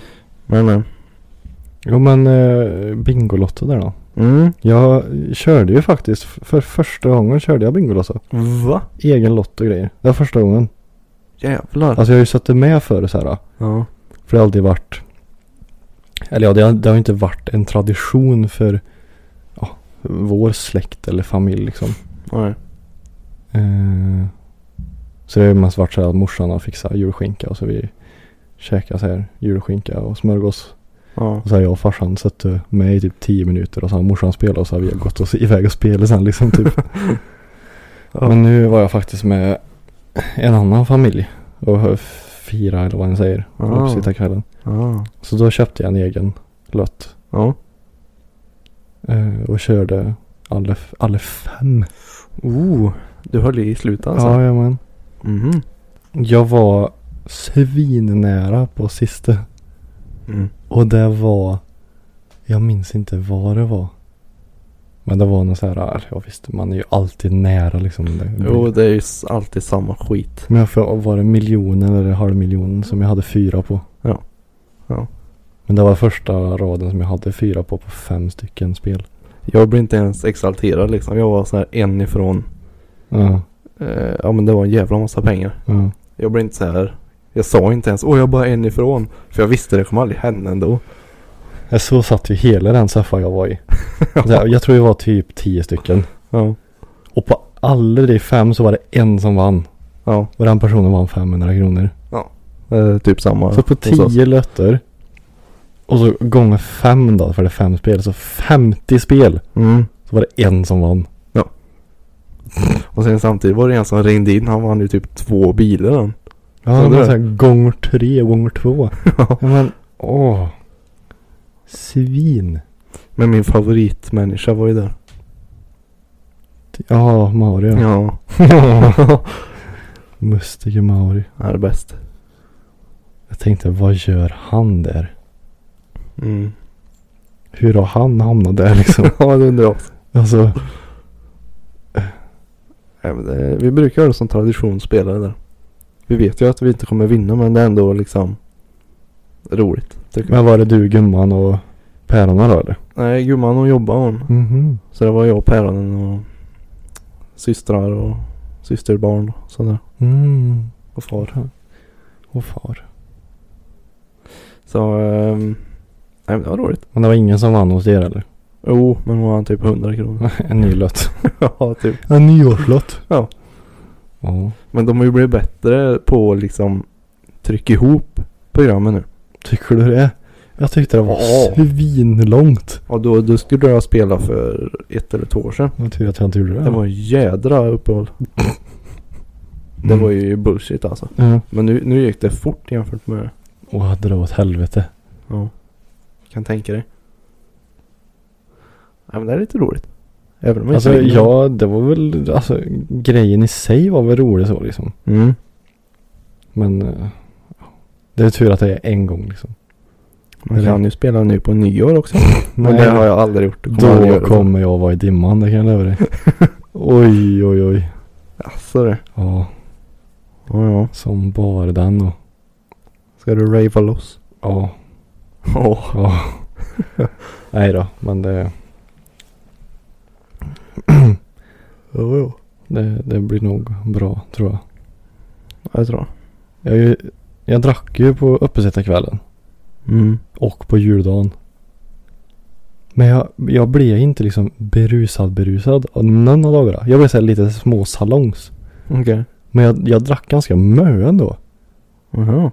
Speaker 2: Men, men.
Speaker 1: Jo men eh, Bingolotto där då.
Speaker 2: Mm.
Speaker 1: Jag körde ju faktiskt, för första gången körde jag Bingolotto.
Speaker 2: Va?
Speaker 1: Egen lott och grejer. Det var första gången.
Speaker 2: Jävlar.
Speaker 1: Alltså jag har ju suttit med förr så här.
Speaker 2: ja.
Speaker 1: För det har alltid varit. Eller ja, det har, det har ju inte varit en tradition för ja, vår släkt eller familj liksom.
Speaker 2: Nej.
Speaker 1: Eh, så det har ju mest varit så här att morsan har fixat julskinka och så vi käkar så här julskinka och smörgås.
Speaker 2: Ja.
Speaker 1: Och så har jag och farsan suttit med i typ 10 minuter och så har morsan spelat och så har vi gått oss iväg och spelat sen liksom typ.
Speaker 2: *laughs* Ja.
Speaker 1: Men nu var jag faktiskt med en annan familj och fira eller vad man säger.
Speaker 2: Ah.
Speaker 1: Oh. Sitta kvällen.
Speaker 2: Ja.
Speaker 1: Så då köpte jag en egen lott.
Speaker 2: Ja.
Speaker 1: eh, Och körde alla, f- alla fem.
Speaker 2: Oh. Du höll i slutet alltså?
Speaker 1: Ja, jajamän.
Speaker 2: Mhm.
Speaker 1: Jag var svinnära på sista.
Speaker 2: Mm.
Speaker 1: Och det var... Jag minns inte vad det var. Men det var någon så här, ja visst, man är ju alltid nära liksom. Det blir-
Speaker 2: Jo, det är ju s- alltid samma skit.
Speaker 1: Men jag får, var det miljonen eller halvmiljonen som jag hade fyra på?
Speaker 2: Ja. Ja.
Speaker 1: Men det var första raden som jag hade fyra på, på fem stycken spel.
Speaker 2: Jag blev inte ens exalterad liksom. Jag var så här en ifrån.
Speaker 1: Ja,
Speaker 2: Eh, ja men det var en jävla massa pengar.
Speaker 1: ja.
Speaker 2: Jag blev inte så här. Jag sa inte ens åh jag är bara en ifrån. För jag visste det kommer aldrig hända ändå.
Speaker 1: Ja, Så satt ju hela den saffa jag
Speaker 2: *laughs*
Speaker 1: var i. Så här, Jag tror jag var typ tio stycken.
Speaker 2: Ja.
Speaker 1: Och på alla de fem så var det en som vann.
Speaker 2: Ja.
Speaker 1: Och den personen vann 500 kronor.
Speaker 2: Eh, typ samma.
Speaker 1: Så på
Speaker 2: hos oss.
Speaker 1: tio lötter. Och så gånger fem då, för det är fem spel. Så 50 spel.
Speaker 2: Mm.
Speaker 1: Så var det en som vann.
Speaker 2: Och sen samtidigt var det en som ringde in. Han vann ju typ två bilar han.
Speaker 1: Ja, det
Speaker 2: det
Speaker 1: var
Speaker 2: är.
Speaker 1: så här gånger tre och gånger *laughs* två. ja, men åh. Svin.
Speaker 2: Men min favoritmänniska var ju där.
Speaker 1: Ja, Mario.
Speaker 2: Ja.
Speaker 1: *laughs* Mustige Mario.
Speaker 2: Han är bäst.
Speaker 1: Jag tänkte, vad gör han där?
Speaker 2: Mm.
Speaker 1: Hur har han hamnat där *laughs* liksom?
Speaker 2: *laughs* ja det undrar jag.
Speaker 1: alltså,
Speaker 2: Nej, men det, vi brukar göra det som traditionsspelare där. Vi vet ju att vi inte kommer vinna men det är ändå liksom roligt. Tycker jag.
Speaker 1: men var det du, gumman och päronen då eller?
Speaker 2: Nej, gumman hon jobbar hon.
Speaker 1: Mhm.
Speaker 2: Så det var jag och päronen och systrar och systerbarn och sådär.
Speaker 1: Mm.
Speaker 2: Och far.
Speaker 1: Och far.
Speaker 2: Så, ehm, nej men det var roligt.
Speaker 1: Men det var ingen som vann hos er eller? *laughs*
Speaker 2: Jo, men hon vann typ 100 kronor. *laughs*
Speaker 1: en ny lott.
Speaker 2: ja, typ.
Speaker 1: En nyårslott.
Speaker 2: Ja.
Speaker 1: Ja.
Speaker 2: Men de har ju blivit bättre på att liksom trycka ihop programmen nu.
Speaker 1: Tycker du det? Jag tyckte det var
Speaker 2: Ja.
Speaker 1: svinlångt.
Speaker 2: Ja, då, då skulle jag spela för ett eller två år sedan.
Speaker 1: Vad tur att jag inte gjorde det.
Speaker 2: Det var en jädra uppehåll. Det var ju bullshit alltså.
Speaker 1: Ja.
Speaker 2: Men nu, nu gick det fort jämfört med...
Speaker 1: Och hade det åt helvete.
Speaker 2: Ja. Kan tänka dig. Ja men det är lite roligt. Även om jag
Speaker 1: Alltså
Speaker 2: inte vinner.
Speaker 1: ja, det var väl, alltså grejen i sig var väl rolig så liksom.
Speaker 2: Mm.
Speaker 1: Men eh, det är tur att det är en gång liksom.
Speaker 2: Man kan ju spela nu på nyår också.
Speaker 1: Nej,
Speaker 2: Men det har jag aldrig gjort. och aldrig
Speaker 1: Då
Speaker 2: göra.
Speaker 1: kommer jag vara i dimman, det kan jag lova *laughs* dig. oj, oj, oj.
Speaker 2: Alltså det.
Speaker 1: Ja,
Speaker 2: Ja, ja.
Speaker 1: som bara den då.
Speaker 2: Ska du ravea loss?
Speaker 1: Ja,
Speaker 2: Ja.
Speaker 1: ja. *laughs* Nej då, men det,
Speaker 2: Ja, ja.
Speaker 1: det, det blir nog bra tror jag.
Speaker 2: Jag tror
Speaker 1: Jag, är ju- jag drack ju på uppesittarkvällen
Speaker 2: Mm.
Speaker 1: och på juldagen. Men jag, jag blev inte liksom berusad berusad av någon av dagarna. Jag blev så här lite små salongs.
Speaker 2: Okej.
Speaker 1: Men jag, jag drack ganska mycket ändå.
Speaker 2: Jaha.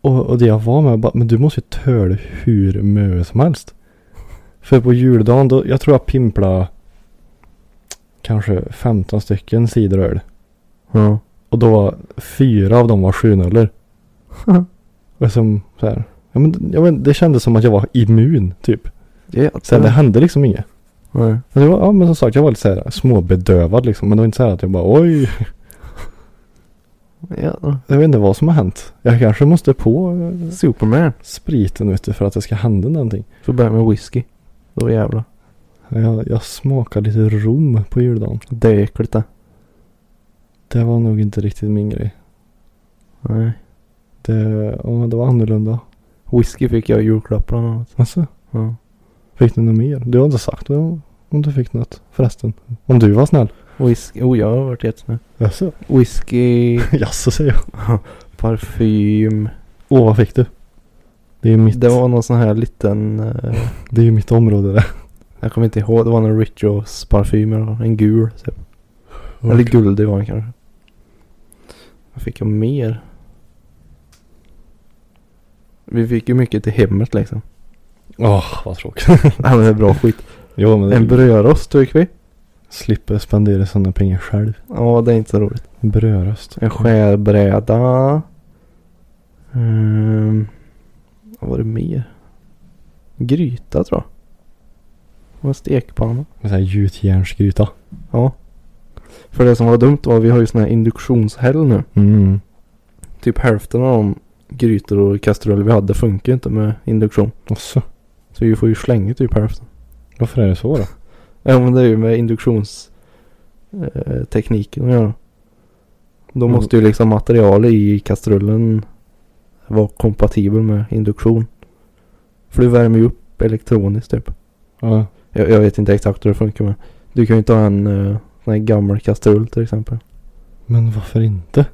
Speaker 1: Och, och det jag var med jag bara, men du måste ju töla hur mycket som helst. För på juldagen då, jag tror jag pimpla kanske 15 stycken cideröl.
Speaker 2: Ja.
Speaker 1: Och då var fyra av dem var sjunuller. och som så här. Ja men, ja men det kändes som att jag var immun typ. Sen det
Speaker 2: Jädrar.
Speaker 1: hände liksom inget.
Speaker 2: Nej.
Speaker 1: Men det var, ja men som sagt jag var lite så här småbedövad liksom. Men det var inte så här att jag bara oj.
Speaker 2: Jädrar.
Speaker 1: Jag vet inte vad som har hänt. Jag kanske måste på eh,
Speaker 2: Superman.
Speaker 1: spriten ute för att det ska hända någonting.
Speaker 2: Får börja med whisky. Då jävlar.
Speaker 1: Jag, jag smakade lite rom på juldagen.
Speaker 2: Det är äckligt det.
Speaker 1: Det var nog inte riktigt min grej.
Speaker 2: Nej.
Speaker 1: Det, ja, det var annorlunda.
Speaker 2: Whisky fick jag i julklapp bland annat.
Speaker 1: Alltså,
Speaker 2: Ja.
Speaker 1: fick du något mer? Du har inte sagt om om du fick något förresten. Om du var snäll.
Speaker 2: Whisky. Oh, jag har varit jättesnäll.
Speaker 1: Jaså? *laughs*
Speaker 2: Whisky.
Speaker 1: Jaså säger jag.
Speaker 2: Parfym.
Speaker 1: Åh, vad fick du? Det är ju mitt,
Speaker 2: Det var någon sån här liten. Eh,
Speaker 1: det är ju mitt område det.
Speaker 2: jag kommer inte ihåg. Det var någon Rituals parfym eller vad. En gul. Typ. Eller guldig var den kanske. Vad fick jag mer? Vi fick ju mycket till hemmet liksom.
Speaker 1: Åh, vad
Speaker 2: *laughs*
Speaker 1: tråkigt.
Speaker 2: Ja men det är bra skit.
Speaker 1: jo, men
Speaker 2: En
Speaker 1: det,
Speaker 2: brödrost fick vi.
Speaker 1: slipper spendera sådana pengar själv.
Speaker 2: Ja det är inte så roligt.
Speaker 1: Brödrost.
Speaker 2: En skärbräda. Ehm, vad var det mer? Gryta tror jag. Och en stekpanna.
Speaker 1: En sån här gjutjärnsgryta.
Speaker 2: Ja. För det som var dumt var vi har ju sån här induktionshäll nu.
Speaker 1: Mm.
Speaker 2: Typ hälften av de grytor och kastruller vi hade funkar ju inte med induktion.
Speaker 1: Jaså?
Speaker 2: Så vi får ju slänga typ hälften.
Speaker 1: Varför är det så då?
Speaker 2: Ja men det är ju med induktionstekniken eh, tekniken att göra. Då
Speaker 1: Mm.
Speaker 2: måste ju liksom materialet i kastrullen vara kompatibel med induktion. För du värmer ju upp elektroniskt typ.
Speaker 1: Ja.
Speaker 2: Jag, jag vet inte exakt hur det funkar men. Du kan ju inte ha en eh, sån här gammal kastrull till exempel.
Speaker 1: Men varför inte?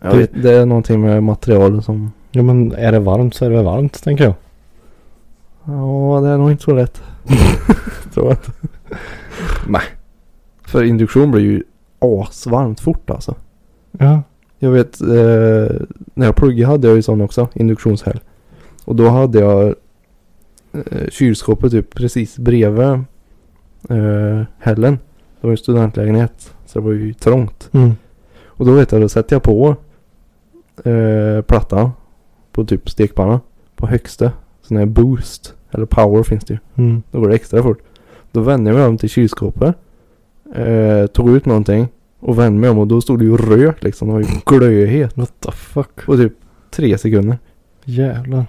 Speaker 2: Jag vet, det är någonting med materialet som.
Speaker 1: Ja men är det varmt så är det väl varmt tänker jag.
Speaker 2: Ja det är nog inte så
Speaker 1: *laughs*
Speaker 2: lätt. Tror jag inte.
Speaker 1: Nej.
Speaker 2: För induktion blir ju asvarmt fort alltså.
Speaker 1: Ja.
Speaker 2: Jag vet, eh, när jag pluggade hade jag ju sån också, induktionshäll. Och då hade jag eh, kylskåpet typ precis bredvid eh, hällen. Det var ju studentlägenhet, så det var ju trångt.
Speaker 1: Mm.
Speaker 2: Och då vet jag, då sätter jag på eh, plattan på typ stekpanna på högsta. Sån här boost, eller power finns det ju.
Speaker 1: Mm.
Speaker 2: Då går det extra fort. Då vände jag mig om till kylskåpet. Eh, tog ut någonting och vände mig om och då stod det ju rök liksom. Det var ju glödhet.
Speaker 1: What the fuck?
Speaker 2: På typ tre sekunder.
Speaker 1: Jävlar.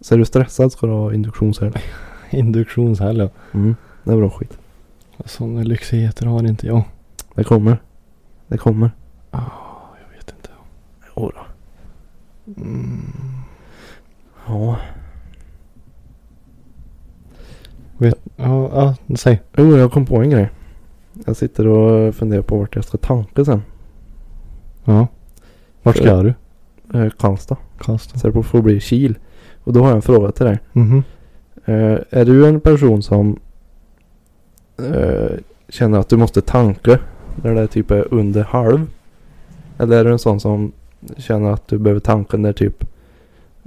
Speaker 2: Så är du stressad ska du ha induktionshäll.
Speaker 1: Induktionshäll ja.
Speaker 2: Mm. Det är bra skit.
Speaker 1: Sådana lyxigheter har inte jag.
Speaker 2: Det kommer. Det kommer.
Speaker 1: Jag vet inte.
Speaker 2: Jodå.
Speaker 1: Mm.
Speaker 2: Ja.
Speaker 1: Vet, ja, ja, säg.
Speaker 2: Jo, jag kom på en grej. Jag sitter och funderar på vart jag ska tanka sen.
Speaker 1: Ja. Vart ska du?
Speaker 2: Eh, Karlstad.
Speaker 1: Karlstad.
Speaker 2: Så det får bli Kil. Och då har jag en fråga till dig.
Speaker 1: Mhm.
Speaker 2: Eh, är du en person som eh, känner att du måste tanka när det typ är under halv? Eller är du en sån som känner att du behöver tanka när typ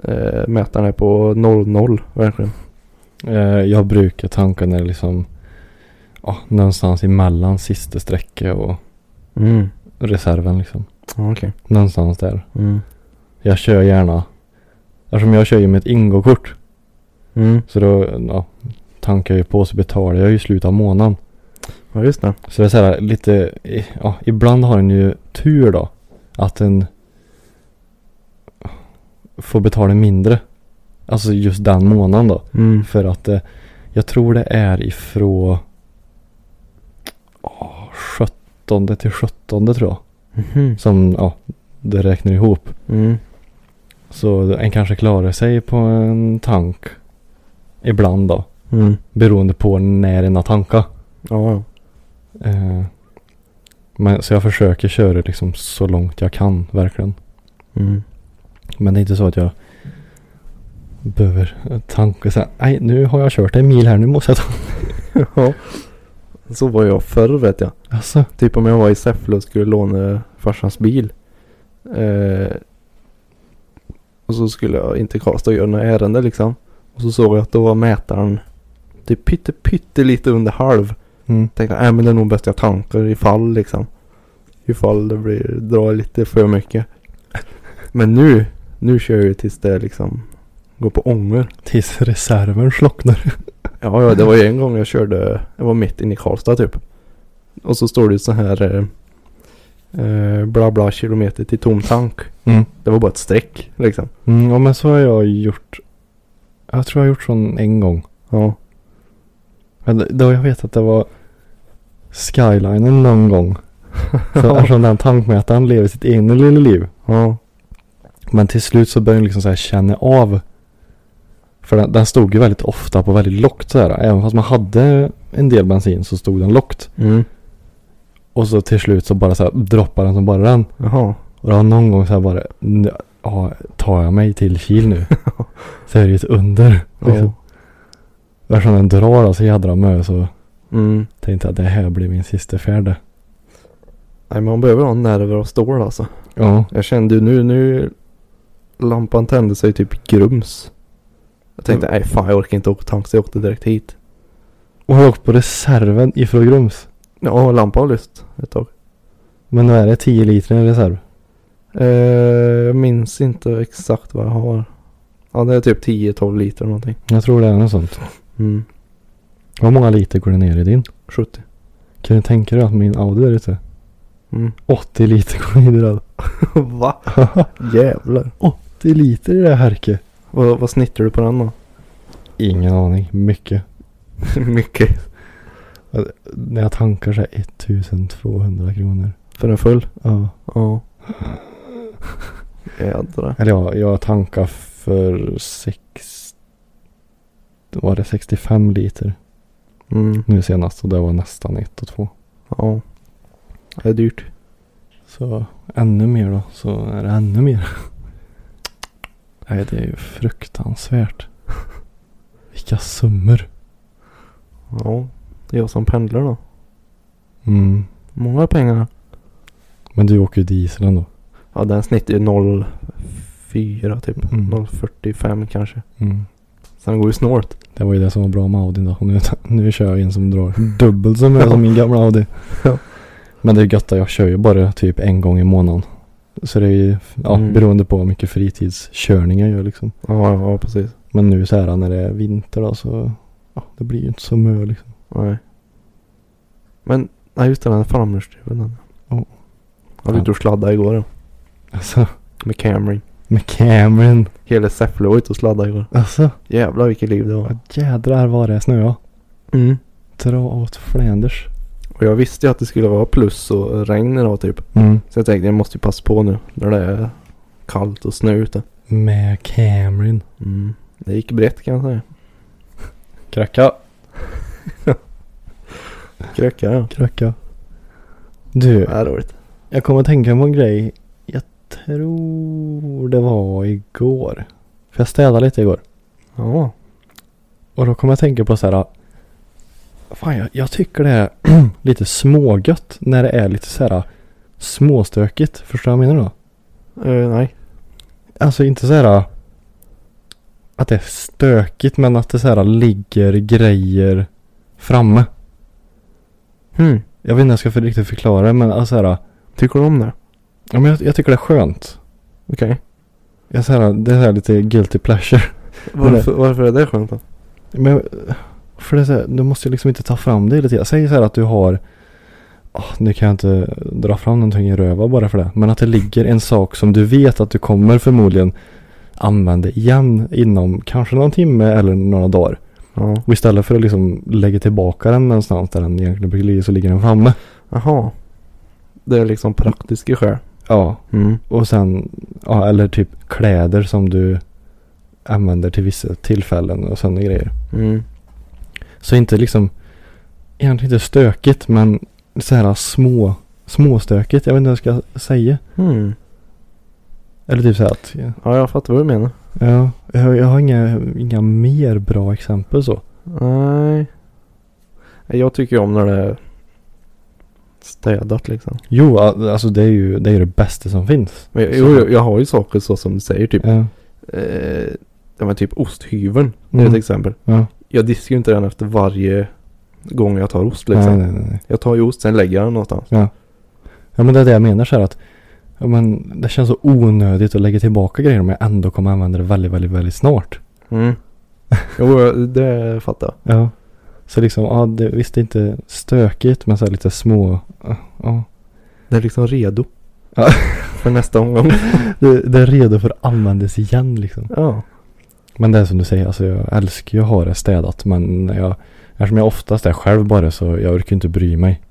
Speaker 2: eh, mätaren är på 00 verkligen?
Speaker 1: Eh, jag brukar tanka när det liksom ja, någonstans emellan sista sträcka och
Speaker 2: Mm.
Speaker 1: reserven liksom.
Speaker 2: Ja, Okej.
Speaker 1: Någonstans där.
Speaker 2: Mm.
Speaker 1: Jag kör gärna. Eftersom jag kör ju med ett ingåkort.
Speaker 2: Mm.
Speaker 1: Så då ja, tankar jag ju på så betalar jag ju i slutet av månaden.
Speaker 2: Ja just det.
Speaker 1: Så det är så här lite, i- ja, ibland har en ju tur då. Att en får betala mindre. Alltså just den månaden då.
Speaker 2: Mm.
Speaker 1: För att eh, jag tror det är ifrån oh, 17 till 17 tror jag.
Speaker 2: Mhm.
Speaker 1: Som ja, det räknar ihop.
Speaker 2: Mm.
Speaker 1: Så en kanske klarar sig på en tank ibland då.
Speaker 2: Mm.
Speaker 1: Beroende på när en har tankat.
Speaker 2: Ja, ja.
Speaker 1: Eh, men, så jag försöker köra liksom så långt jag kan verkligen.
Speaker 2: Mm.
Speaker 1: Men det är inte så att jag behöver tanka så här, Nej, nu har jag kört en mil här. Nu måste jag ta.
Speaker 2: ja. Så var jag förr vet jag.
Speaker 1: *laughs* Alltså.
Speaker 2: Typ om jag var i Säffle och skulle låna farsans bil. Eh, och så skulle jag inte kasta och göra några ärende liksom. Och så såg jag att då var mätaren typ pytte pytte lite under halv.
Speaker 1: Mm.
Speaker 2: Tänkte nej men det är nog bäst jag tankar ifall liksom. Ifall det blir, drar lite för mycket. Men nu, nu kör jag ju tills det liksom går på ånger.
Speaker 1: Tills reserven slocknar.
Speaker 2: Ja, ja, det var ju en gång jag körde, jag var mitt inne i Karlstad typ. Och så står det så här eh, eh, bla bla kilometer till tom tank.
Speaker 1: Mm.
Speaker 2: Det var bara ett streck liksom.
Speaker 1: Mm, ja, men så har jag gjort. Jag tror jag har gjort sån en gång.
Speaker 2: Ja,
Speaker 1: Men det- då jag vet att det var skylinen någon gång. Så
Speaker 2: *laughs* Ja.
Speaker 1: eftersom den tankmätaren lever sitt egna lilla liv.
Speaker 2: ja,
Speaker 1: Men till slut så började jag liksom så här känna av. För den, den stod ju väldigt ofta på väldigt lågt så här. Även fast man hade en del bensin så stod den lågt.
Speaker 2: mm.
Speaker 1: Och så till slut så bara så här droppade den som bara den.
Speaker 2: jaha,
Speaker 1: Och det var någon gång så här bara. "N- Ja, tar jag mig till Kil
Speaker 2: *laughs*
Speaker 1: nu? så är det ju ett under.
Speaker 2: ja.
Speaker 1: Liksom. Eftersom den drar då så jädra med så
Speaker 2: Mm.
Speaker 1: tänkte jag att det här blir min sista färd.
Speaker 2: Nej, man behöver ha nerver av stål alltså.
Speaker 1: Ja.
Speaker 2: Jag kände ju nu, nu lampan tände sig typ i grums. Jag tänkte nej fan jag orkar inte åka tank så jag åkte direkt hit.
Speaker 1: Och har åkt på reserven ifrån Grums.
Speaker 2: Ja, lampan har lyst ett tag.
Speaker 1: Men nu är det 10 liter i reserv.
Speaker 2: Eh, jag minns inte exakt vad jag har. Ja, det är typ 10-12 liter eller någonting.
Speaker 1: Jag tror det är något sånt.
Speaker 2: Mm.
Speaker 1: Hur många liter går det ner i din?
Speaker 2: 70.
Speaker 1: Kan du tänka dig att min Audi där ute?
Speaker 2: Mm.
Speaker 1: 80 liter går ner i den.
Speaker 2: *laughs* *laughs* Va? Jävlar.
Speaker 1: 80 liter i det här härke.
Speaker 2: Vad, vad *laughs* snittar du på den då?
Speaker 1: Ingen aning. Mycket.
Speaker 2: Mycket.
Speaker 1: Eh, När jag tankar så här 1200 kronor.
Speaker 2: För en full?
Speaker 1: Ja.
Speaker 2: Ja. *laughs* Jädrar.
Speaker 1: Eller ja, jag tankar för sex... Var det 65 liter
Speaker 2: Mm.
Speaker 1: nu senast och det var nästan ett och två.
Speaker 2: Ja. Det är dyrt.
Speaker 1: Så ännu mer då, så är det ännu mer. Nej, det är ju fruktansvärt. Vilka summor.
Speaker 2: Ja. Det är jag som pendlar då.
Speaker 1: Mm.
Speaker 2: Många pengar.
Speaker 1: Men du åker ju diesel ändå.
Speaker 2: Ja den snittar ju 0,4 typ.
Speaker 1: Mm.
Speaker 2: 0,45 kanske.
Speaker 1: Mm.
Speaker 2: Sen går ju snålt.
Speaker 1: Det var ju det som var bra med Audi då. Nu, *laughs* nu kör jag en som drar dubbelt så mycket som min gamla Audi.
Speaker 2: Mm. *laughs* Ja.
Speaker 1: Men det är gött att jag kör ju bara typ en gång i månaden. Så det är ju ja,
Speaker 2: Mm.
Speaker 1: beroende på hur mycket fritidskörning jag gör liksom.
Speaker 2: Ja, ja, ja precis.
Speaker 1: Men nu så här när det är vinter då så ja, det blir ju inte så mycket liksom.
Speaker 2: Nej. Men, nej just det, den framhjulsdriven den.
Speaker 1: Ja.
Speaker 2: Jag var ute och sladdade igår då.
Speaker 1: Alltså
Speaker 2: Med Camry.
Speaker 1: med Cameron.
Speaker 2: Hela Säffle var ute och sladdade igår.
Speaker 1: Alltså
Speaker 2: Jävlar vilket liv det var.
Speaker 1: vad jädrar vad det snöade.
Speaker 2: Mm.
Speaker 1: Dra åt Flanders.
Speaker 2: Och jag visste ju att det skulle vara plus och regn idag typ.
Speaker 1: Mm.
Speaker 2: Så jag tänkte jag måste ju passa på nu när det är kallt och snö ute.
Speaker 1: Med Cameron.
Speaker 2: Mm. Det gick brett kan jag säga.
Speaker 1: Kracka.
Speaker 2: Krökar ja.
Speaker 1: Kracka. Du.
Speaker 2: Det är roligt.
Speaker 1: Jag kommer att tänka på en grej. Jag tror det var igår. För jag städade lite igår.
Speaker 2: Ja.
Speaker 1: Och då kommer jag att tänka på så här. Fan, jag, jag tycker det är *clears throat* lite smågött när det är lite så här småstökigt. Förstår du vad jag menar då?
Speaker 2: Eh, nej.
Speaker 1: Alltså inte så här att det är stökigt men att det så här äh, ligger grejer framme.
Speaker 2: Hmm.
Speaker 1: Jag vet inte om jag ska för riktigt förklara det, men alltså så här.
Speaker 2: Tycker du om det?
Speaker 1: Ja, men jag, jag tycker det är skönt.
Speaker 2: Okej.
Speaker 1: Jag så här, äh, det är så här lite guilty pleasure.
Speaker 2: Varför, varför är det skönt då?
Speaker 1: Men eh, för det är så här, du måste ju liksom inte ta fram det hela tiden. Säg så här att du har, Ah, nu kan jag inte dra fram någonting i röva bara för det. Men att det ligger en sak som du vet att du kommer förmodligen använda igen inom kanske någon timme eller några dagar.
Speaker 2: Ja.
Speaker 1: Och istället för att liksom lägga tillbaka den någonstans där den egentligen brukar ligga så ligger den framme.
Speaker 2: Jaha. Det är liksom praktiska skäl.
Speaker 1: Ja,
Speaker 2: Mm.
Speaker 1: och sen, ja eller typ kläder som du använder till vissa tillfällen och sådana grejer.
Speaker 2: Mm.
Speaker 1: Så inte liksom, egentligen inte stökigt men så här små, småstökigt. Jag vet inte vad jag ska säga.
Speaker 2: Mm.
Speaker 1: Eller typ så här att, ja,
Speaker 2: Ja, jag fattar vad du menar.
Speaker 1: ja jag, har- jag har inga, inga mer bra exempel så.
Speaker 2: Nej. Nej, Jag tycker ju om när det är städat liksom.
Speaker 1: Jo, a- alltså det är ju det, är ju det bästa som finns.
Speaker 2: Men jag, jo, jag, jag har ju saker så som du säger typ.
Speaker 1: Ja,
Speaker 2: Eh, ja, men typ osthyveln. Det är ett
Speaker 1: Mm.
Speaker 2: exempel.
Speaker 1: ja.
Speaker 2: Jag diskar ju inte den efter varje gång jag tar ost liksom.
Speaker 1: Nej, nej, nej, nej.
Speaker 2: Jag tar ju ost, sen lägger jag den någonstans.
Speaker 1: Ja men det är det jag menar så här att, ja men det känns så onödigt att lägga tillbaka grejer om jag ändå kommer använda det väldigt, väldigt, väldigt snart.
Speaker 2: *laughs* Mm. jo, jag- det fattar jag.
Speaker 1: Ja. Så liksom, ja det, visst det är inte stökigt men så här lite små, ja, ja.
Speaker 2: Det är liksom redo. *laughs*
Speaker 1: Ja.
Speaker 2: För nästa omgång.
Speaker 1: Det, det är redo för att användas igen liksom.
Speaker 2: Ja.
Speaker 1: Men det är som du säger, alltså jag älskar ju att ha det städat men jag, eftersom jag oftast är själv bara så jag orkar inte bry mig.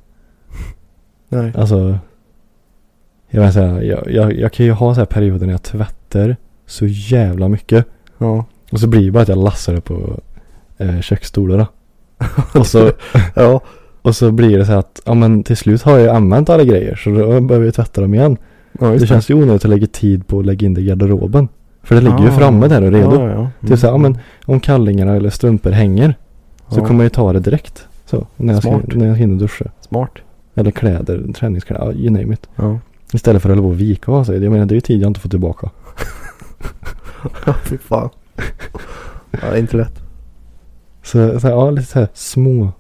Speaker 2: Nej.
Speaker 1: Alltså, jag vill säga, jag, jag, jag kan ju ha så här perioder när jag tvättar så jävla mycket.
Speaker 2: Ja.
Speaker 1: Och så blir det bara att jag lassar det på eh, köksstolarna. *laughs* och, så,
Speaker 2: *laughs* Ja.
Speaker 1: och så blir det så här att, ja men till slut har jag ju använt alla grejer så då behöver jag tvätta dem igen.
Speaker 2: Ja, just
Speaker 1: Det känns ju onödigt att lägga tid på att lägga in det i garderoben. För det ligger ju
Speaker 2: Ah.
Speaker 1: framme där och redo.
Speaker 2: Ja, ja, ja. Mm.
Speaker 1: Typ så här, ja men om kallingarna eller strumpor hänger så
Speaker 2: Ja.
Speaker 1: kommer jag ju ta det direkt. Så, när jag, ska,
Speaker 2: Smart.
Speaker 1: när jag hinner duscha.
Speaker 2: Smart.
Speaker 1: Eller kläder, träningskläder, ja, you name it.
Speaker 2: Ja.
Speaker 1: Istället för att hålla på och vika av sig. Jag menar det är ju tid jag inte får tillbaka.
Speaker 2: Fy fan. Ja, det är inte lätt.
Speaker 1: Så, så här, ja lite så här små.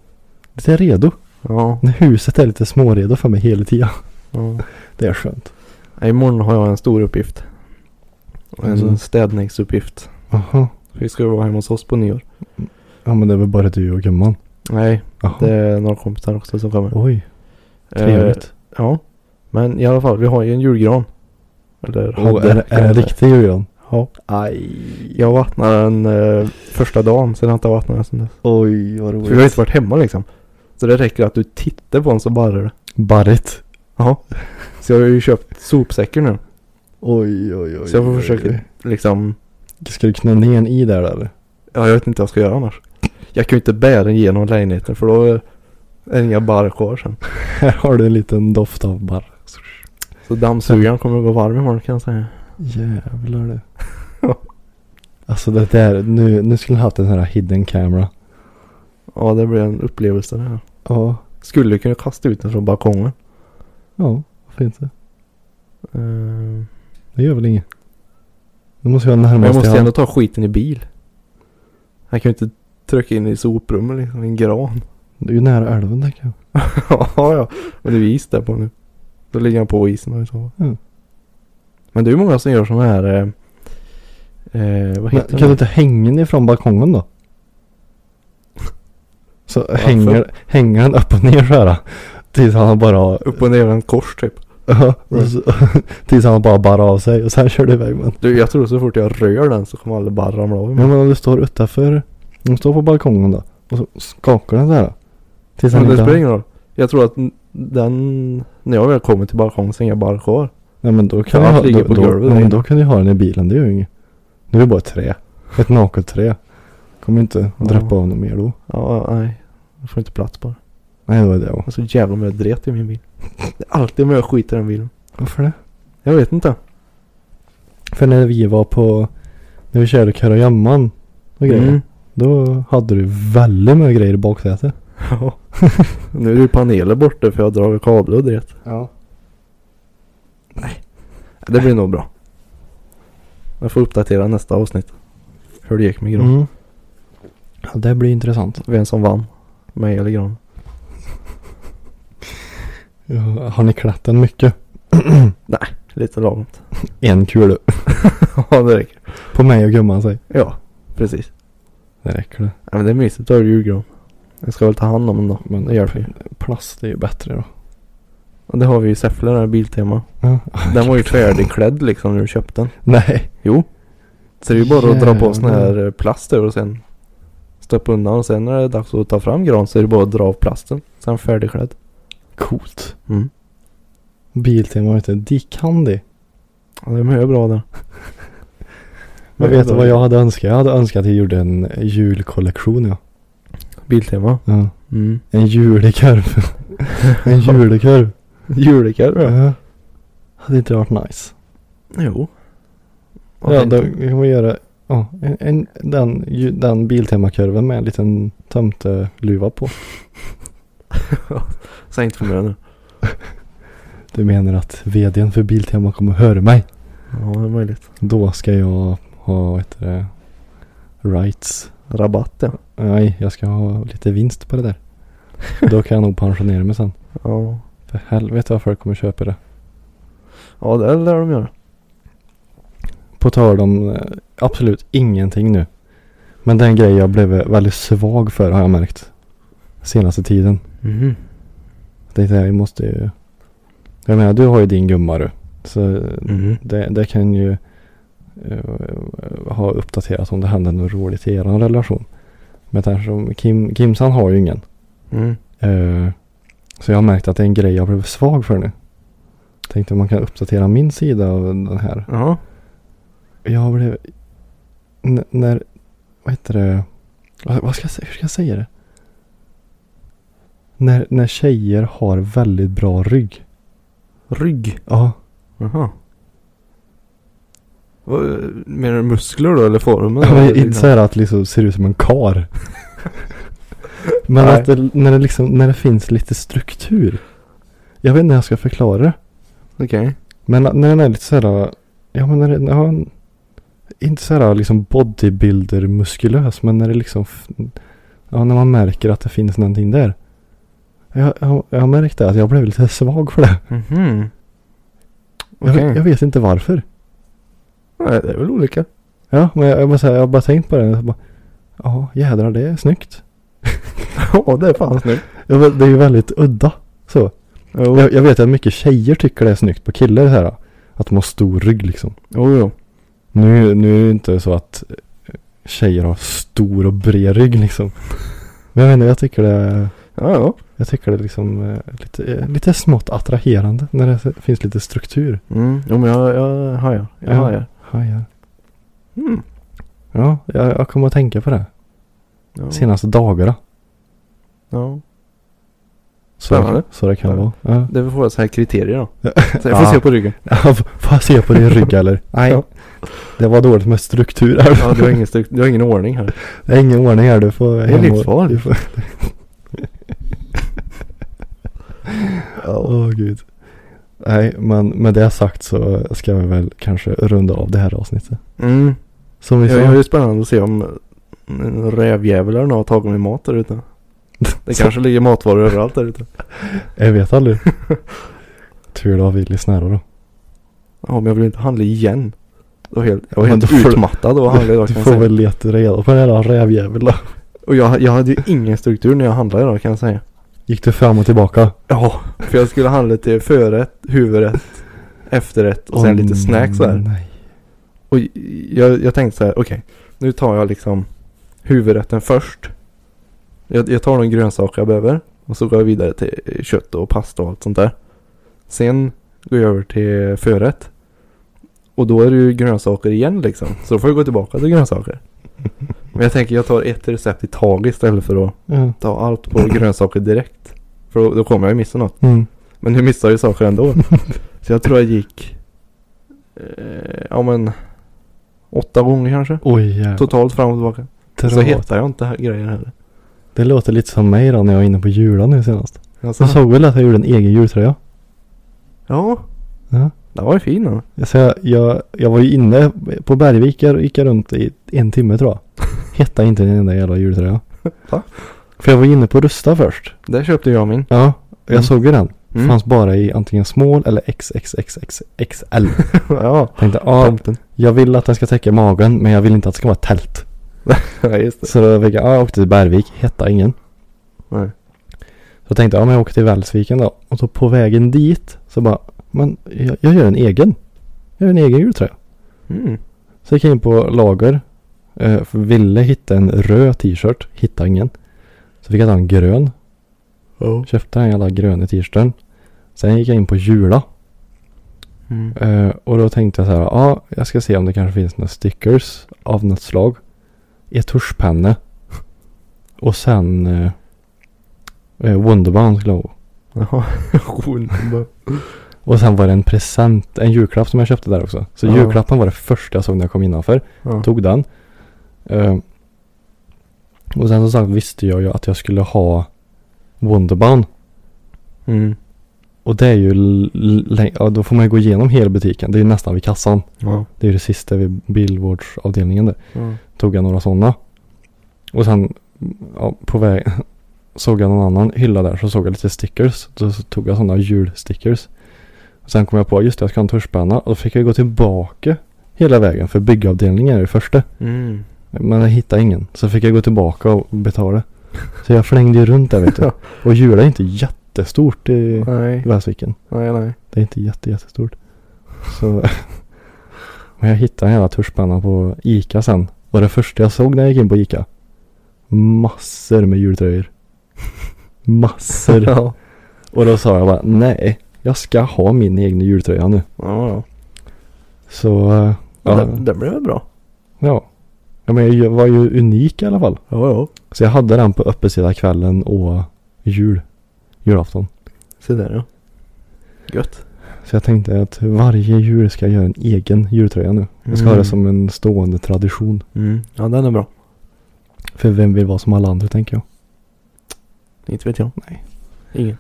Speaker 1: Lite redo.
Speaker 2: Ja.
Speaker 1: När huset är lite småredo för mig hela tiden. *laughs*
Speaker 2: ja.
Speaker 1: Det är skönt.
Speaker 2: Nej, Imorgon har jag en stor uppgift. En
Speaker 1: Mm.
Speaker 2: städningsuppgift.
Speaker 1: Jaha.
Speaker 2: Vi ska ju vara hemma hos oss på nyår.
Speaker 1: Ja men det är väl bara du och gumman.
Speaker 2: Nej,
Speaker 1: Jaha.
Speaker 2: det är några kompisar också som kommer.
Speaker 1: Oj,
Speaker 2: Eh,
Speaker 1: trevligt.
Speaker 2: Ja, men i alla fall, vi har ju en julgran. Eller
Speaker 1: och är, det- är det en riktig julgran?
Speaker 2: Ja.
Speaker 1: Aj.
Speaker 2: Jag vattnade den eh, första dagen, sen har jag inte vattnat den sen dess.
Speaker 1: Oj vad
Speaker 2: För jag har inte varit hemma liksom. Så det räcker att du tittar på den så barrar det.
Speaker 1: Barret.
Speaker 2: Ja. Så jag har ju köpt sopsäckar nu.
Speaker 1: Oj, oj, oj.
Speaker 2: Så jag får
Speaker 1: oj,
Speaker 2: försöka
Speaker 1: oj.
Speaker 2: liksom.
Speaker 1: Ska du knö ner en i där eller?
Speaker 2: Ja, jag vet inte vad jag ska göra annars. Jag kan ju inte bära den genom lägenheten för då är det inga barr kvar sen.
Speaker 1: Här har du en liten doft av barr.
Speaker 2: Så dammsugaren kommer att gå varm imorgon kan jag säga.
Speaker 1: Jävlar du. *laughs* alltså det där, nu, nu skulle jag haft en sån här hidden camera.
Speaker 2: Ja, det blir en upplevelse det här.
Speaker 1: Ja,
Speaker 2: Skulle kunna kasta ut den från balkongen.
Speaker 1: ja, varför inte?
Speaker 2: Eh,
Speaker 1: Det gör väl inget. Nu måste jag närma
Speaker 2: Men jag
Speaker 1: oss till
Speaker 2: måste
Speaker 1: han.
Speaker 2: ändå ta skiten i bil. Jag kan ju inte trycka in i soprummet liksom, i en gran.
Speaker 1: Det är ju nära älven tänker jag.
Speaker 2: *laughs* ja, ja. Och det är is där på nu. Då ligger han på isen och i så.
Speaker 1: Mm.
Speaker 2: Men det är ju många som gör sådana här... Eh, eh, vad
Speaker 1: Men,
Speaker 2: heter
Speaker 1: kan
Speaker 2: det?
Speaker 1: du inte hänga den ifrån balkongen *laughs* då? Så hänger, hänger den upp och ner så här. Tills han bara har *laughs*
Speaker 2: Upp och ner en kors typ.
Speaker 1: Ja, och så- Tills han bara barrar av sig och sen kör du iväg med den.
Speaker 2: Du, jag tror så fort jag rör den så kommer alla bara ramla av.
Speaker 1: Ja men om du står utanför, om du står på balkongen då och så skakar den där då. Tills
Speaker 2: Men
Speaker 1: han
Speaker 2: det
Speaker 1: inte
Speaker 2: spelar
Speaker 1: har,
Speaker 2: ingen roll. Jag tror att n- den... När jag väl kommer till balkongen så är inga barr kvar.
Speaker 1: Nej men då kan
Speaker 2: Ja,
Speaker 1: du ha,
Speaker 2: allt ligger
Speaker 1: då,
Speaker 2: på
Speaker 1: då,
Speaker 2: golvet
Speaker 1: ja,
Speaker 2: där
Speaker 1: men
Speaker 2: inne.
Speaker 1: då kan du ha den i bilen, det gör ju inget. Nu är det bara ett trä. Ett naket trä. Kommer inte
Speaker 2: Ja.
Speaker 1: dräppa av något mer då.
Speaker 2: Ja, nej. Jag får inte plats bara.
Speaker 1: Nej det var det också.
Speaker 2: Jag har så jävla mycket dret i min bil. Det är alltid mycket skit i den bilen.
Speaker 1: Varför det?
Speaker 2: Jag vet inte.
Speaker 1: För när vi var på, när vi körde karajamman och grejer.
Speaker 2: Mm. *laughs*
Speaker 1: Då hade du väldigt mycket grejer i baksätet.
Speaker 2: Ja. nu är ju paneler borta för jag drar dragit kablar och dret.
Speaker 1: Ja.
Speaker 2: Det blir nog bra. Jag får uppdatera nästa avsnitt. Hur det gick med gran.
Speaker 1: Mm. Ja, det blir intressant.
Speaker 2: Vem som vann. Mig eller gran.
Speaker 1: Ja, har ni klätt den mycket? *clears throat* *laughs*
Speaker 2: Lite lagom.
Speaker 1: En kul
Speaker 2: ja det räcker.
Speaker 1: På mig och gumman sig.
Speaker 2: Ja. Precis.
Speaker 1: Det räcker det.
Speaker 2: Ja, men det är mysigt att ha julgran. Jag ska väl ta hand om den då.
Speaker 1: Men
Speaker 2: Det hjälper ju.
Speaker 1: plast är ju bättre då.
Speaker 2: Och det har vi i Säffle
Speaker 1: *laughs*
Speaker 2: där Biltema.
Speaker 1: Ja.
Speaker 2: Den var ju färdigklädd liksom när du köpte den.
Speaker 1: Nej.
Speaker 2: Jo. Så det är ju bara att dra på
Speaker 1: Jävlar.
Speaker 2: sån här eh, plast över och sen stoppa undan och sen när det är dags att ta fram gran så är det bara att dra av plasten. Sen färdigklädd.
Speaker 1: Coolt.
Speaker 2: Mm.
Speaker 1: Biltema vet du. De kan det.
Speaker 2: Ja, det är mycket bra där.
Speaker 1: Men
Speaker 2: Mycket
Speaker 1: vet du
Speaker 2: bra.
Speaker 1: vad jag hade önskat? Jag hade önskat att jag gjorde en julkollektion ja.
Speaker 2: Biltema.
Speaker 1: ja.
Speaker 2: *laughs* Mm.
Speaker 1: En julekorv. *laughs* en julekorv.
Speaker 2: Julekorv ja.
Speaker 1: Ja. Hade inte det varit nice?
Speaker 2: Jo. Varför
Speaker 1: Ja,
Speaker 2: inte?
Speaker 1: då kan man göra ja, en, en, den, ju- den Biltemakurven med en liten tomteluva på.
Speaker 2: Säg inte för mycket nu.
Speaker 1: Du menar att vdn för Biltema kommer höra mig?
Speaker 2: Ja, det är möjligt.
Speaker 1: Då ska jag ha, vad heter det, rights.
Speaker 2: Rabatt ja.
Speaker 1: Nej, jag ska ha lite vinst på det där. Då kan jag nog pensionera mig sen.
Speaker 2: Ja,
Speaker 1: För helvete vad folk kommer köpa det.
Speaker 2: ja det lär de göra.
Speaker 1: På tal om eh, absolut ingenting nu. Men den grej jag blev väldigt svag för har jag märkt. Senaste tiden.
Speaker 2: Mhm.
Speaker 1: Jag tänkte jag måste ju... Jag menar du har ju din gumma du. Så eh,
Speaker 2: Mhm.
Speaker 1: det, det kan ju eh, ha uppdaterat om det händer något roligt i eran relation. Men eftersom Kim, Kimsan har ju ingen.
Speaker 2: Mm.
Speaker 1: Eh, så jag har märkt att det är en grej jag blev svag för nu. Tänkte om man kan uppdatera min sida av den här.
Speaker 2: Ja.
Speaker 1: Jag blev... N- när... Vad heter det? Vad, vad ska jag säga? Hur ska jag säga det? När, när tjejer har väldigt bra rygg.
Speaker 2: Rygg.
Speaker 1: Ja,
Speaker 2: Jaha. Vad- Menar du muskler då eller formen?
Speaker 1: men
Speaker 2: Eller
Speaker 1: inte så här att liksom ser ut som en kar. men
Speaker 2: Nej.
Speaker 1: att det, när det liksom, när det finns lite struktur. Jag vet inte hur jag ska förklara det.
Speaker 2: Okej.
Speaker 1: Men att- när den är lite så här, ja men när den ja, en- inte så här liksom bodybuilder muskulös. Men när det liksom, f- ja när man märker att det finns någonting där. Jag, jag, jag märkte att jag blev lite svag för det.
Speaker 2: Mhm.
Speaker 1: Jag,
Speaker 2: Okej.
Speaker 1: jag vet inte varför.
Speaker 2: Nej, det är väl olika. *laughs*
Speaker 1: Ja, men jag, jag, måste säga, jag har bara tänkt på det. Jag bara, Ja, jädrar det är snyggt.
Speaker 2: ja, det är fan snyggt.
Speaker 1: Ja, men det är ju väldigt udda. Så.
Speaker 2: Jo,
Speaker 1: Jag, jag vet att mycket tjejer tycker det är snyggt på killar så här. Att de har stor rygg liksom.
Speaker 2: jo, jo.
Speaker 1: Nu, nu är det ju inte så att tjejer har stor och bred rygg liksom. Men jag vet inte, jag tycker det är...
Speaker 2: Ja, ja.
Speaker 1: Jag tycker det är liksom eh, lite, eh, lite smått attraherande när det s- finns lite struktur.
Speaker 2: Mm. Jo men jag, jag hajar. Jag
Speaker 1: Ja.
Speaker 2: hajar.
Speaker 1: Hajar.
Speaker 2: Mm.
Speaker 1: Ja, jag, jag kommer att tänka på det.
Speaker 2: Ja.
Speaker 1: Senaste dagarna.
Speaker 2: Ja.
Speaker 1: Så,
Speaker 2: Spännande.
Speaker 1: så det kan
Speaker 2: Ja.
Speaker 1: vara. Ja.
Speaker 2: Det är väl våra så här kriterier då.
Speaker 1: Ja.
Speaker 2: Så jag får
Speaker 1: Ja. *laughs*
Speaker 2: se på ryggen.
Speaker 1: Får jag se på din rygg eller? Nej.
Speaker 2: Ja.
Speaker 1: Det var dåligt med struktur här.
Speaker 2: Ja, du har ingen, struktur- du har ingen ordning här.
Speaker 1: Det är ingen ordning här. Du får
Speaker 2: är livsfarligt.
Speaker 1: du
Speaker 2: *laughs*
Speaker 1: får- Åh gud. Nej, men med det sagt så ska vi väl kanske runda av det här avsnittet.
Speaker 2: Mm.
Speaker 1: Som vi
Speaker 2: Ja,
Speaker 1: sa.
Speaker 2: det är ju spännande att se om en rävjävel eller något har tagit min mat där ute. Det kanske ligger matvaror överallt där ute.
Speaker 1: Jag vet
Speaker 2: *laughs*
Speaker 1: aldrig. Tur då har vi lyssnare då.
Speaker 2: Ja, men jag vill inte handla igen. Det var helt, jag var
Speaker 1: Men
Speaker 2: helt
Speaker 1: då får-
Speaker 2: utmattad av att handla idag
Speaker 1: du
Speaker 2: kan jag
Speaker 1: får
Speaker 2: säga.
Speaker 1: väl leta reda på den här jävla rävjäveln då.
Speaker 2: Och jag, jag hade ju ingen struktur när jag handlade idag kan jag säga.
Speaker 1: Gick du fram och tillbaka?
Speaker 2: Ja, för jag skulle handla till förrätt, huvudrätt, efterrätt och sen
Speaker 1: Åh,
Speaker 2: lite snacks där.
Speaker 1: Nej.
Speaker 2: Och jag, jag tänkte så här, okej, nu tar jag liksom huvudrätten först. Jag, jag tar de grönsaker jag behöver och så går jag vidare till eh, kött och pasta och allt sånt där. Sen går jag över till förrätt. Och då är det ju grönsaker igen liksom. Så då får jag gå tillbaka till grönsaker. Men jag tänker jag tar ett recept i taget istället för att
Speaker 1: Ja.
Speaker 2: ta allt på grönsaker direkt. För då, då kommer jag ju missa något.
Speaker 1: Mm.
Speaker 2: Men nu missar jag ju saker *laughs* ändå. Så jag tror jag gick... Eh, ja men... Åtta gånger kanske.
Speaker 1: Oj jävlar.
Speaker 2: Totalt fram och tillbaka. Så hittar jag inte här grejen heller.
Speaker 1: Det låter lite som mig då när jag var inne på julen nu senast.
Speaker 2: Alltså,
Speaker 1: Jag såg väl att jag gjorde en egen jultröja.
Speaker 2: Ja.
Speaker 1: Ja.
Speaker 2: Den var ju fin den.
Speaker 1: Så jag, jag, jag var ju inne på Bergvik och gick jag runt i en timme tror
Speaker 2: *laughs*
Speaker 1: jag. Hittade inte en enda jävla jultröja.
Speaker 2: Va?
Speaker 1: För jag var inne på Rusta först.
Speaker 2: Där köpte jag min.
Speaker 1: Ja. Jag
Speaker 2: Mm.
Speaker 1: såg ju den.
Speaker 2: Mm. *laughs*
Speaker 1: Fanns bara i antingen small eller XXXXXL.
Speaker 2: ja.
Speaker 1: Tänkte, ja,
Speaker 2: Tomten.
Speaker 1: jag vill att den ska täcka magen men jag vill inte att det ska vara tält.
Speaker 2: *laughs* ja just det.
Speaker 1: Så då fick jag, ja, jag åkte till Bergvik, hittade ingen.
Speaker 2: Nej.
Speaker 1: Så tänkte jag, ja men jag åker till Välsviken då. Och så på vägen dit så bara, men jag, jag gör en egen. Jag gör en egen jultröja.
Speaker 2: Mm.
Speaker 1: Så gick jag in på lager. Eh, för ville hitta en röd t-shirt, hittade ingen. Så fick jag ta en grön.
Speaker 2: Ja.
Speaker 1: Köpte den jävla gröna t-shirten. Sen gick jag in på Jula.
Speaker 2: Mm.
Speaker 1: Eh, och då tänkte jag så här, ja jag ska se om det kanske finns några stickers av något slag. Etuschpenne. *laughs* Och sen eh, eh, Wonderbound skulle jag ha.
Speaker 2: Jaha. Hon-
Speaker 1: Och sen var det en present, en julklapp som jag köpte där också. Så
Speaker 2: Ja.
Speaker 1: julklappen var det första jag såg när jag kom innanför.
Speaker 2: ja.
Speaker 1: Tog den. Eh, och sen som sagt visste jag ju att jag skulle ha Wonderbound.
Speaker 2: Mm.
Speaker 1: Och det är ju, l- l- ja, då får man ju gå igenom hela butiken. Det är ju nästan vid kassan.
Speaker 2: Ja.
Speaker 1: Det är ju det sista vid bilvårdsavdelningen där.
Speaker 2: Ja.
Speaker 1: Tog jag några sådana. Och sen ja, på väg *laughs* såg jag någon annan hylla där så såg jag lite stickers. Då så tog jag sådana julstickers. Och sen kom jag på just det, jag ska ha en tuschpenna. Och då fick jag gå tillbaka hela vägen för byggavdelningen är det första.
Speaker 2: Mm.
Speaker 1: Men jag hittade ingen. Så fick jag gå tillbaka och betala. Så jag flängde ju runt där
Speaker 2: *laughs*
Speaker 1: vet du. Och jula är inte jättestort i
Speaker 2: Nej.
Speaker 1: Väsviken.
Speaker 2: Nej nej.
Speaker 1: Det är inte jätte, jättestort. Så... *laughs* Men jag hittade en jävla tuschpenna på Ica sen. Och det första jag såg när jag gick in på Ica. Massor med jultröjor. *laughs* Massor.
Speaker 2: Ja.
Speaker 1: Och då sa jag bara nej. Jag ska ha min egen jultröja nu.
Speaker 2: Ja ja.
Speaker 1: Så eh,
Speaker 2: ja.
Speaker 1: ja.
Speaker 2: Den, den blev väl bra.
Speaker 1: ja. ja men jag var ju unik i alla fall.
Speaker 2: Ja ja.
Speaker 1: Så jag hade den på öppensida kvällen och jul. Julafton.
Speaker 2: Se där ja. Gött.
Speaker 1: Så jag tänkte att varje jul ska jag göra en egen jultröja nu. Jag ska ha
Speaker 2: Mm.
Speaker 1: det som en stående tradition.
Speaker 2: Mm. Ja den är bra.
Speaker 1: För vem vill vara som alla andra tänker jag.
Speaker 2: Inte vet jag.
Speaker 1: Nej.
Speaker 2: Ingen.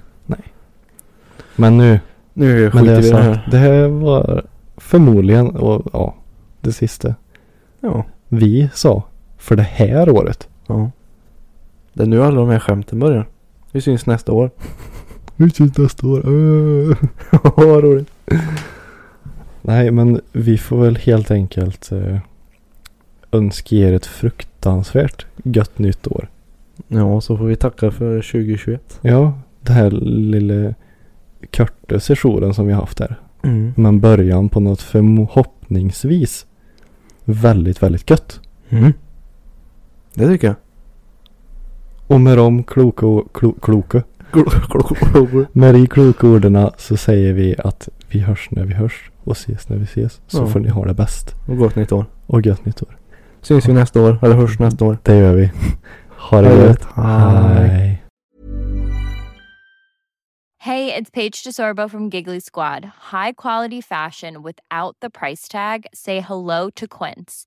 Speaker 1: Men nu,
Speaker 2: Nu
Speaker 1: med
Speaker 2: skiter
Speaker 1: det
Speaker 2: vi i det
Speaker 1: sagt.
Speaker 2: här.
Speaker 1: Det här var förmodligen, och ja, det sista
Speaker 2: Ja.
Speaker 1: vi sa för det här året.
Speaker 2: ja. Det är nu alla de här skämten börjar. Vi syns nästa år.
Speaker 1: Vi syns nästa år. Vad roligt. Nej, men vi får väl helt enkelt eh, önska er ett fruktansvärt gött nytt år.
Speaker 2: Ja, så får vi tacka för 2021.
Speaker 1: Ja, det här lilla korta sessionen som vi har haft här.
Speaker 2: Mm.
Speaker 1: Men början på något förhoppningsvis väldigt, väldigt gött.
Speaker 2: Det tycker jag.
Speaker 1: Och med de kloka, och- klo, kloka, Med de kloka orden så säger vi att vi hörs när vi hörs och ses när vi ses. Så
Speaker 2: Ja.
Speaker 1: får ni ha det bäst.
Speaker 2: Och gott nytt år.
Speaker 1: Och gött nytt år.
Speaker 2: Syns vi nästa år, eller hörs nästa år.
Speaker 1: Det gör vi. *laughs* Ha det
Speaker 2: Ha det
Speaker 1: gött.
Speaker 2: gött. Hej.
Speaker 1: Hej.
Speaker 3: Hey, it's Paige DeSorbo from Giggly Squad. High quality fashion without the price tag. Say hello to Quince.